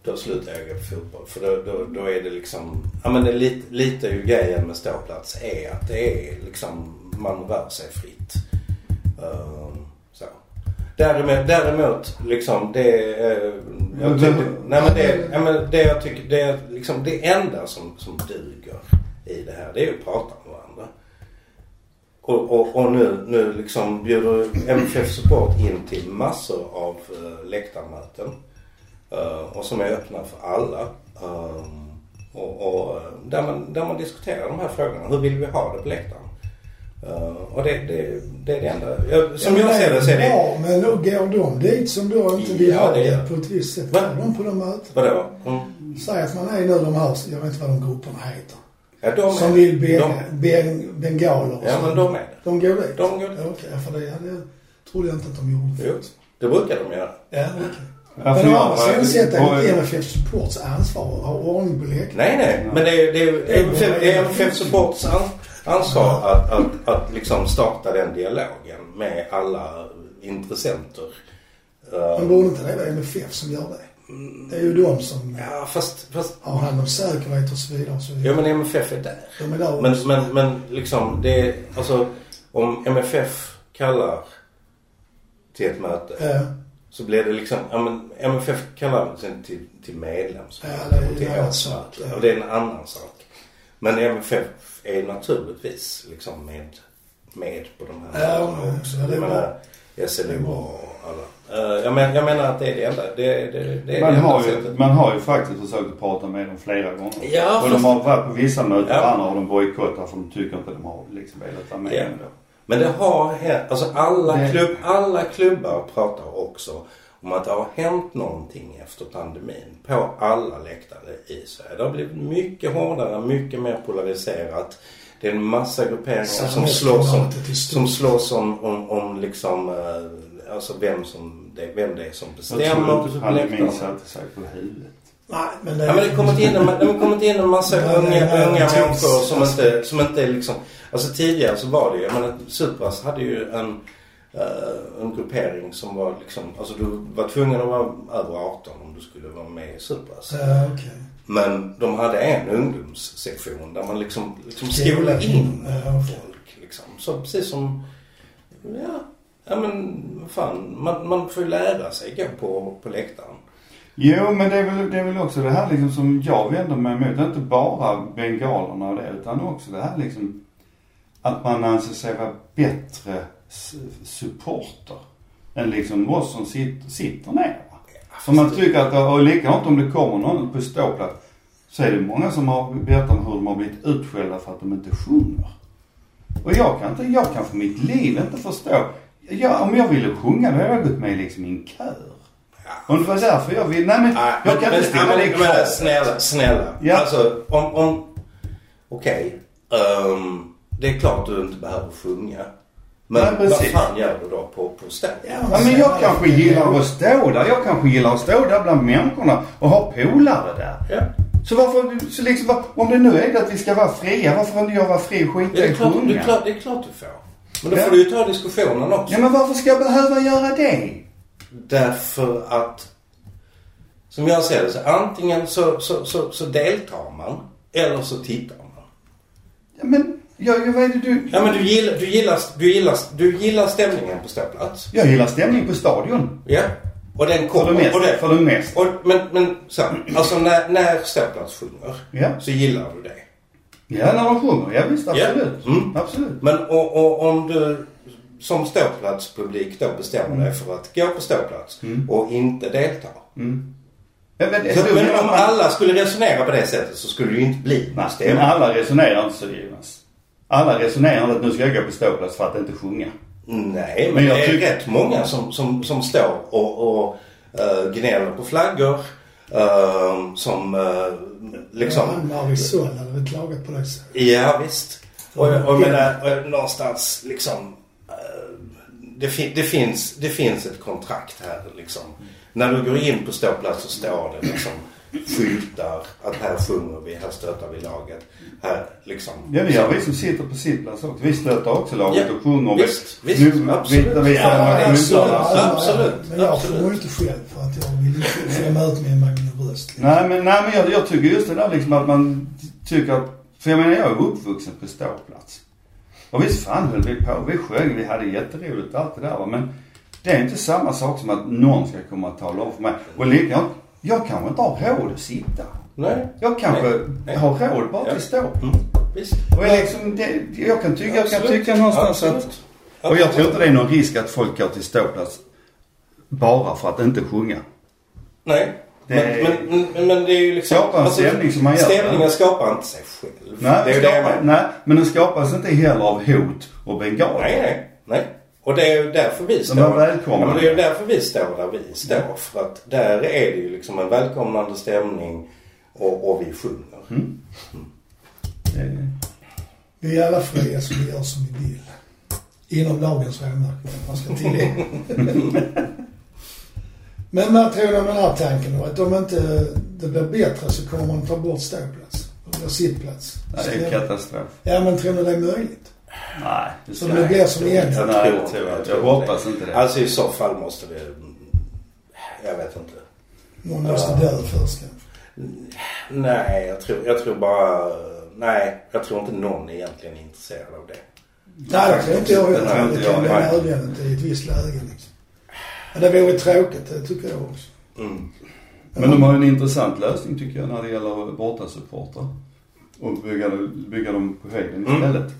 Speaker 2: då slutar jag gå på fotboll. För då, då, då är det liksom... Ja men det är lite, lite ju grejen med ståplats är att det är liksom... Man rör sig fritt. Ehm, så. Däremot, däremot liksom det... eh, jag tycker, nej men det, ja, men det jag tycker... Det, är liksom, det enda som, som duger i det här det är ju att prata med varandra. Och, och, och nu, nu liksom bjuder MFF Support in till massor av uh, läktarmöten. Eh, och som är öppna för alla. Eh, och och eh, där, man, där man diskuterar de här frågorna. Hur vill vi ha det på läktaren? Eh, och det, det, det är det enda. Jag, som
Speaker 1: Ja, men
Speaker 2: jag ser det så är det...
Speaker 1: Bra, men då går de dit som då inte vill
Speaker 2: Ja,
Speaker 1: ha
Speaker 2: det gör.
Speaker 1: det på ett visst sätt.
Speaker 2: Va?
Speaker 1: Går de på de mötena.
Speaker 2: Vadå? Mm.
Speaker 1: Säg att man är nu de här, jag vet inte vad de grupperna heter.
Speaker 2: Ja, de är-
Speaker 1: Som vill be,
Speaker 2: de,
Speaker 1: be, bengaler och
Speaker 2: Ja
Speaker 1: så.
Speaker 2: men de är det.
Speaker 1: De går dit?
Speaker 2: De går dit.
Speaker 1: Ja, Okej, för det hade, trodde jag inte att de gjorde.
Speaker 2: Jo, det brukar de göra.
Speaker 1: Ja, okej.
Speaker 3: Varför
Speaker 1: Men å
Speaker 3: jag-
Speaker 1: andra sidan sett är
Speaker 3: Och-
Speaker 1: det inte MFF Supports ansvar att ha ordning på läktaren.
Speaker 2: Nej, nej. Men det är, det är, det är, fem- det är MFF Supports an- ansvar att, att, att liksom starta den dialogen med alla intressenter.
Speaker 1: Men
Speaker 2: Uh,
Speaker 1: borde inte det vara MFF som gör det? Det är ju de som
Speaker 2: ja, fast, fast...
Speaker 1: har hand om säkerhet och så vidare. Och så
Speaker 2: Ja,
Speaker 1: vidare.
Speaker 2: men MFF är där.
Speaker 1: De är där
Speaker 2: Men, men, men liksom, det är... Alltså, om MFF kallar till ett möte
Speaker 1: Ja,
Speaker 2: så blir det liksom... Ja, men MFF kallar sen till, till
Speaker 1: Ja,
Speaker 2: medlemsmöte
Speaker 1: det är en annan
Speaker 2: och till årsmöte.
Speaker 1: sak, ja.
Speaker 2: Och det är en annan sak. Men MFF är naturligtvis liksom med, med på de här
Speaker 1: Ja,
Speaker 2: mötena också.
Speaker 1: ja, det är bra.
Speaker 2: Jag menar, SLU och alla. Eh, Jag menar, jag menar att det är det enda. Det, det, det, det är
Speaker 3: Man
Speaker 2: det enda
Speaker 3: har, ju,
Speaker 2: sättet.
Speaker 3: man har ju faktiskt försökt att prata med dem flera gånger.
Speaker 2: Ja,
Speaker 3: och
Speaker 2: fast-
Speaker 3: de har varit på vissa möten
Speaker 2: Ja.
Speaker 3: och andra har de bojkottat för de tycker inte de har liksom velat vara med
Speaker 2: Ja.
Speaker 3: ändå.
Speaker 2: Men det har hänt. Alltså alla,
Speaker 3: Det-
Speaker 2: klubb, alla klubbar pratar också om att det har hänt någonting efter pandemin på alla läktare i Sverige. Det har blivit mycket hårdare, mycket mer polariserat. Det är en massa grupperingar som slåss om,
Speaker 1: Samhällsklimatet är stort.
Speaker 2: som slåss om, om, om liksom, eh, alltså vem, som det, vem det är som
Speaker 3: Jag tror
Speaker 2: bestämmer
Speaker 3: inte
Speaker 2: på läktarna.
Speaker 3: pandemin satte sig på huvudet.
Speaker 1: Nej, men det,
Speaker 2: Ja, men det kommer inte in, en- det kommer inte in en massa
Speaker 1: Nej, nej,
Speaker 2: unga,
Speaker 1: nej,
Speaker 2: unga
Speaker 1: precis.
Speaker 2: människor som inte, som inte liksom... Alltså tidigare så var det ju, men Supras hade ju en, eh, en gruppering som var liksom... Alltså du var tvungen att vara över 18 om du skulle vara med i Supras.
Speaker 1: Ja, Eh, okej.
Speaker 2: Men de hade en ungdomssektion där man liksom, liksom skolade in
Speaker 1: Ja, okej.
Speaker 2: folk. Liksom. Så precis som... Ja, ja men fan. Man, man får ju lära sig gå på, på läktaren.
Speaker 3: Jo, men det är, väl, det är väl också det här liksom som jag vänder mig emot. Inte bara bengalerna och det, utan också det här liksom att man anser sig vara bättre s- supporter än liksom oss som sitter, sitter ner. va. För man tycker att, och likadant om det kommer någon på ståplats så är det många som har berättat om hur de har blivit utskällda för att de inte sjunger. Och jag kan inte, jag kan för mitt liv inte förstå. Jag, om jag ville sjunga då hade jag gått med liksom i en kör. Om det var därför jag ville, nej men
Speaker 2: Nej,
Speaker 3: jag kan
Speaker 2: men-
Speaker 3: inte ställa
Speaker 2: men-
Speaker 3: det
Speaker 2: men
Speaker 3: kravet.
Speaker 2: Snälla, snälla.
Speaker 3: Ja.
Speaker 2: Alltså, om... om Okej. ehm, det är klart du inte behöver sjunga. Men
Speaker 3: Nej,
Speaker 2: vad
Speaker 3: precis.
Speaker 2: fan gör du då på, på stånd?
Speaker 1: Ja,
Speaker 3: Ja, men jag kanske gillar att stå där. Jag kanske gillar att stå där bland människorna och ha polare där.
Speaker 2: Ja.
Speaker 3: Så varför, så liksom, va- om det nu är det att vi ska vara fria, varför får inte jag vara fri och skita
Speaker 2: Det,
Speaker 3: i
Speaker 2: är
Speaker 3: att
Speaker 2: klart, det, är
Speaker 3: sjunga?
Speaker 2: klart, det är klart du får. Men då
Speaker 3: Ja.
Speaker 2: får du ju ta diskussionen också.
Speaker 3: Ja men varför ska jag behöva göra det?
Speaker 2: Därför att... Som jag ser det så antingen så, så, så, så deltar man eller så tittar man.
Speaker 3: Ja, men, jag, jag, vad är det du...
Speaker 2: Ja men du gillar, du gillar, du gillar, du gillar stämningen på ståplats.
Speaker 3: Jag gillar stämning på stadion.
Speaker 2: Ja. Och den
Speaker 3: För
Speaker 2: kommer.
Speaker 3: det mesta.
Speaker 2: och den,
Speaker 3: För det mesta.
Speaker 2: och, men men så, här, alltså när, när Ståplats sjunger
Speaker 3: Ja.
Speaker 2: så gillar du det.
Speaker 3: Ja, när de sjunger. Ja, visst.
Speaker 2: Ja.
Speaker 3: Absolut.
Speaker 2: Mm.
Speaker 3: Absolut.
Speaker 2: Men och, och, om du som ståplatspublik då bestämmer
Speaker 3: Mm.
Speaker 2: dig för att gå på ståplats och inte delta.
Speaker 3: Ja, men,
Speaker 2: Så,
Speaker 3: du
Speaker 2: men
Speaker 3: menar
Speaker 2: om
Speaker 3: man-
Speaker 2: alla skulle resonera på det sättet så skulle det ju inte bli
Speaker 3: Nej,
Speaker 2: någon
Speaker 3: men
Speaker 2: stämning.
Speaker 3: alla resonerar inte så Jonas. Alla resonerar inte att nu ska jag gå på ståplats för att inte sjunga.
Speaker 2: Nej, men
Speaker 3: Men jag
Speaker 2: det är
Speaker 3: tycker-
Speaker 2: rätt många som, som, som står och, och eh, gnäller på flaggor. eh, som eh, liksom...
Speaker 1: Han Marisol hade väl klagat på det så.
Speaker 2: Ja, visst. Och,
Speaker 3: Mm.
Speaker 2: och jag menar, eh, någonstans liksom... eh, Det, fin- det, finns, det finns ett kontrakt här liksom.
Speaker 3: Mm.
Speaker 2: När du går in på ståplats så står det liksom skyltar att här sjunger vi, här stöttar vi laget. Här liksom...
Speaker 3: Ja, det gör vi som sitter på sittplats också. Vi stöter också laget
Speaker 2: Ja,
Speaker 3: och sjunger.
Speaker 2: visst, visst,
Speaker 3: nu,
Speaker 2: absolut.
Speaker 3: Vi, vi,
Speaker 2: Ja,
Speaker 3: ja,
Speaker 2: absolut.
Speaker 1: Men jag
Speaker 2: absolut.
Speaker 1: sjunger inte själv för att jag vill inte skämma ut min magna röst. liksom.
Speaker 3: Nej, men, nej, men jag, jag tycker just det där liksom att man tycker att... För jag menar, jag är uppvuxen på ståplats. Och visst fan höll vi på. Vi sjöng, vi hade jätteroligt allt det där va. Men det är inte samma sak som att någon ska komma och tala om för mig. Och likadant, jag kanske inte har råd att sitta.
Speaker 2: Nej.
Speaker 3: Jag kanske
Speaker 2: Nej, nej.
Speaker 3: har råd bara att
Speaker 2: Ja.
Speaker 3: vi står.
Speaker 2: Mm, visst.
Speaker 3: Och jag, liksom, det, jag kan tycka, jag kan
Speaker 2: Absolut.
Speaker 3: tycka någonstans
Speaker 2: Absolut.
Speaker 3: att... Och jag tror inte det är någon risk att folk går till ståplats bara för att inte sjunga.
Speaker 2: Nej.
Speaker 3: Det-
Speaker 2: Men, men, men, men det är ju liksom...
Speaker 3: Skapa en stämning som man gör.
Speaker 2: Stämningen skapar inte sig själv.
Speaker 3: Nej,
Speaker 2: det är ju det jag
Speaker 3: skapar,
Speaker 2: menar.
Speaker 3: nej, men den skapas inte heller av hot och bengaler.
Speaker 2: Nej, nej, nej. Och det är ju därför vi står...
Speaker 3: var välkomna.
Speaker 2: Ja, men det är ju därför vi står där vi står. För att där är det ju liksom en välkomnande stämning och, och vi sjunger.
Speaker 3: Mm. Det-
Speaker 1: Vi är alla fria så vi gör som vi vill. Inom lagens råmärken, man ska tillägga. Men man tror om den här tanken då? Att om inte det blir bättre så kommer man ta bort ståplats. Eller sittplats.
Speaker 3: Nej, det är en katastrof.
Speaker 1: Ja, men tror ni det är möjligt?
Speaker 3: Nej, det
Speaker 1: Så det blir som egentligen.
Speaker 3: Nej, det tror jag inte. Jag hoppas inte det.
Speaker 2: Alltså i så fall måste vi... Jag vet inte.
Speaker 1: Någon måste dö först kanske.
Speaker 2: Nej, jag tror, jag tror bara... Nej, jag tror inte någon egentligen är intresserad av det.
Speaker 1: Nej, det tror inte jag
Speaker 3: Det tror
Speaker 1: heller.
Speaker 3: inte
Speaker 1: Det kan
Speaker 3: jag,
Speaker 1: bli
Speaker 3: nej.
Speaker 1: nödvändigt i ett visst läge liksom. Men det vore tråkigt, det tycker jag också.
Speaker 2: Mm.
Speaker 3: Men de har en intressant lösning tycker jag när det gäller bortasupportrar. Och bygga, bygga dem på höjden
Speaker 2: Mm.
Speaker 3: istället.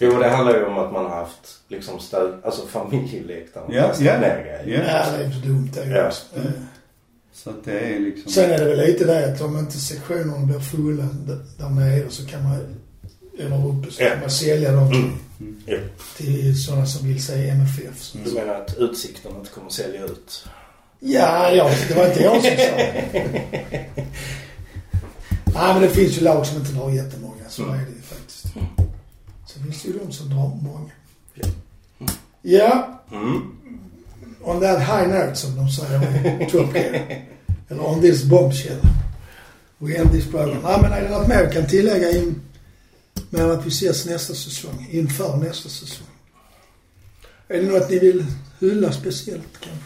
Speaker 2: Jo, det handlar ju om att man har haft liksom stöd, alltså familjeläktaren. och
Speaker 3: Ja,
Speaker 2: kastat
Speaker 3: ja, Mm.
Speaker 2: ner grejer.
Speaker 3: ja. Mm.
Speaker 1: Nej, det är inte dumt det
Speaker 2: Ja.
Speaker 1: också. Eh,
Speaker 3: Så att det är liksom...
Speaker 1: Sen är det väl lite det att om inte sektionerna blir fulla d- där nere så kan man, eller uppe, så
Speaker 2: Ja. Mm.
Speaker 1: kan man sälja dem till,
Speaker 2: Ja.
Speaker 1: till sådana som vill säga MFF. Så.
Speaker 2: Du menar att utsikten inte kommer att sälja ut?
Speaker 1: Ja, ja, det var inte jag som sa det. Nej, men det finns ju lag som inte drar jättemånga, så
Speaker 2: Mm.
Speaker 1: är det ju faktiskt. Sen finns det ju de som drar många.
Speaker 2: Ja.
Speaker 1: Ja,
Speaker 2: Mm.
Speaker 1: on that high note som de säger i Top Gear. Eller on this bombshell. We end this program. Nej, men är det något mer vi kan tillägga in med att vi ses nästa säsong? Inför nästa säsong. Är det något ni vill hylla speciellt kanske?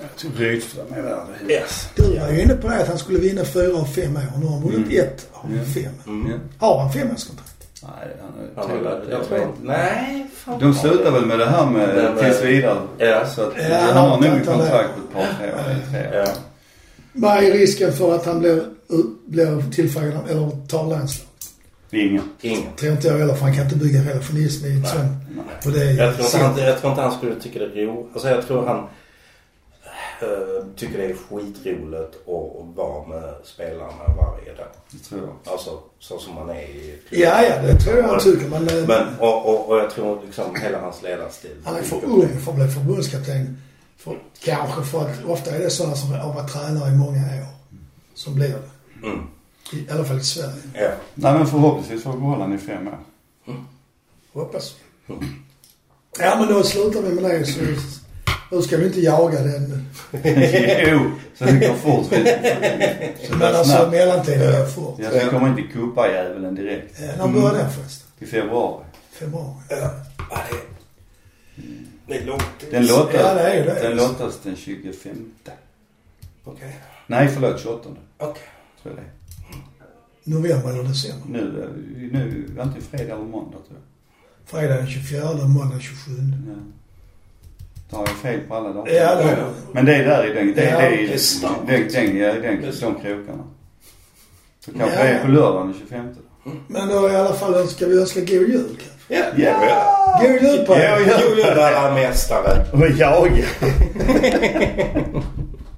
Speaker 3: Jag tror Rydström är värd det.
Speaker 2: Yes.
Speaker 1: Du var ju inne på det att han skulle vinna fyra av fem år. Nu har han vunnit
Speaker 2: Mm.
Speaker 1: ett av fem.
Speaker 3: Ja.
Speaker 1: Har han femårskontrakt?
Speaker 3: Nej, han är...
Speaker 2: Han har väl- jag tror inte. Nej, fan.
Speaker 3: De slutar väl med det här med
Speaker 2: Det med-
Speaker 3: tills vidare.
Speaker 2: eh, Ja.
Speaker 3: Så att eh,
Speaker 1: Ja,
Speaker 3: han har nog
Speaker 1: vänta där.
Speaker 3: kontrakt på ett par tre år. eller tre år.
Speaker 2: Ja.
Speaker 1: Vad är risken för att han blir, blir tillfrågad om- eller tar landslag?
Speaker 3: Det är inga.
Speaker 2: Ingen.
Speaker 1: Tror inte jag heller, för han kan inte bygga relationism i ett sånt. Och det är
Speaker 2: Jag tror, inte
Speaker 1: sant.
Speaker 2: han, jag tror inte han skulle tycka det är roligt. Alltså jag tror han eh, tycker det är skitroligt att att vara med spelarna varje dag.
Speaker 3: Det tror jag.
Speaker 2: Alltså så som han är i
Speaker 1: Ja, ja, det tror jag han tycker. Men, eh,
Speaker 2: Men, och, och, och jag tror liksom hela hans ledarstil.
Speaker 1: han är för ung för att bli förbundskapten. För, kanske för att ofta är det sådana som har varit tränare i många år som blir det.
Speaker 2: Mm.
Speaker 1: I alla fall i Sverige.
Speaker 2: Ja.
Speaker 3: Nej men förhoppningsvis får vi behålla den i fem år.
Speaker 1: Hoppas vi. Ja, men då slutar vi med det. Så, nu ska vi inte jaga den
Speaker 3: jo, så det går fort. Så
Speaker 1: Men
Speaker 3: det
Speaker 1: alltså
Speaker 3: snabbt.
Speaker 1: mellantiden går fort.
Speaker 3: Ja, så kommer inte kuppajäveln direkt.
Speaker 1: Eh, När började den förresten?
Speaker 3: I februari.
Speaker 1: Februari?
Speaker 2: Ja, det, är- det är långt.
Speaker 3: Den
Speaker 1: Ja, det
Speaker 3: lottas,
Speaker 1: är ju det.
Speaker 3: den, lottas den 25.
Speaker 2: Okej.
Speaker 3: Nej förlåt 28.
Speaker 2: Okej.
Speaker 3: Tror jag det är.
Speaker 1: November eller december?
Speaker 3: Nu, eh, nu, antingen fredag eller måndag tror jag.
Speaker 1: Fredag den 24 och måndag den 27.
Speaker 3: Ja. Då har jag fel på alla dagar.
Speaker 1: Ja,
Speaker 2: Ja,
Speaker 1: det,
Speaker 2: ja.
Speaker 3: Men det är där i den, det,
Speaker 1: Ja,
Speaker 3: det är i
Speaker 2: det är starkt.
Speaker 3: den, den, ja, i den,
Speaker 2: Det är
Speaker 3: de krokarna. Så kanske
Speaker 1: Ja.
Speaker 3: det är på lördagen den 25.
Speaker 1: men då i alla fall önskar vi önska god jul kanske.
Speaker 2: Ja,
Speaker 1: God jul på er!
Speaker 2: ja. Julövermästare.
Speaker 3: Och jag!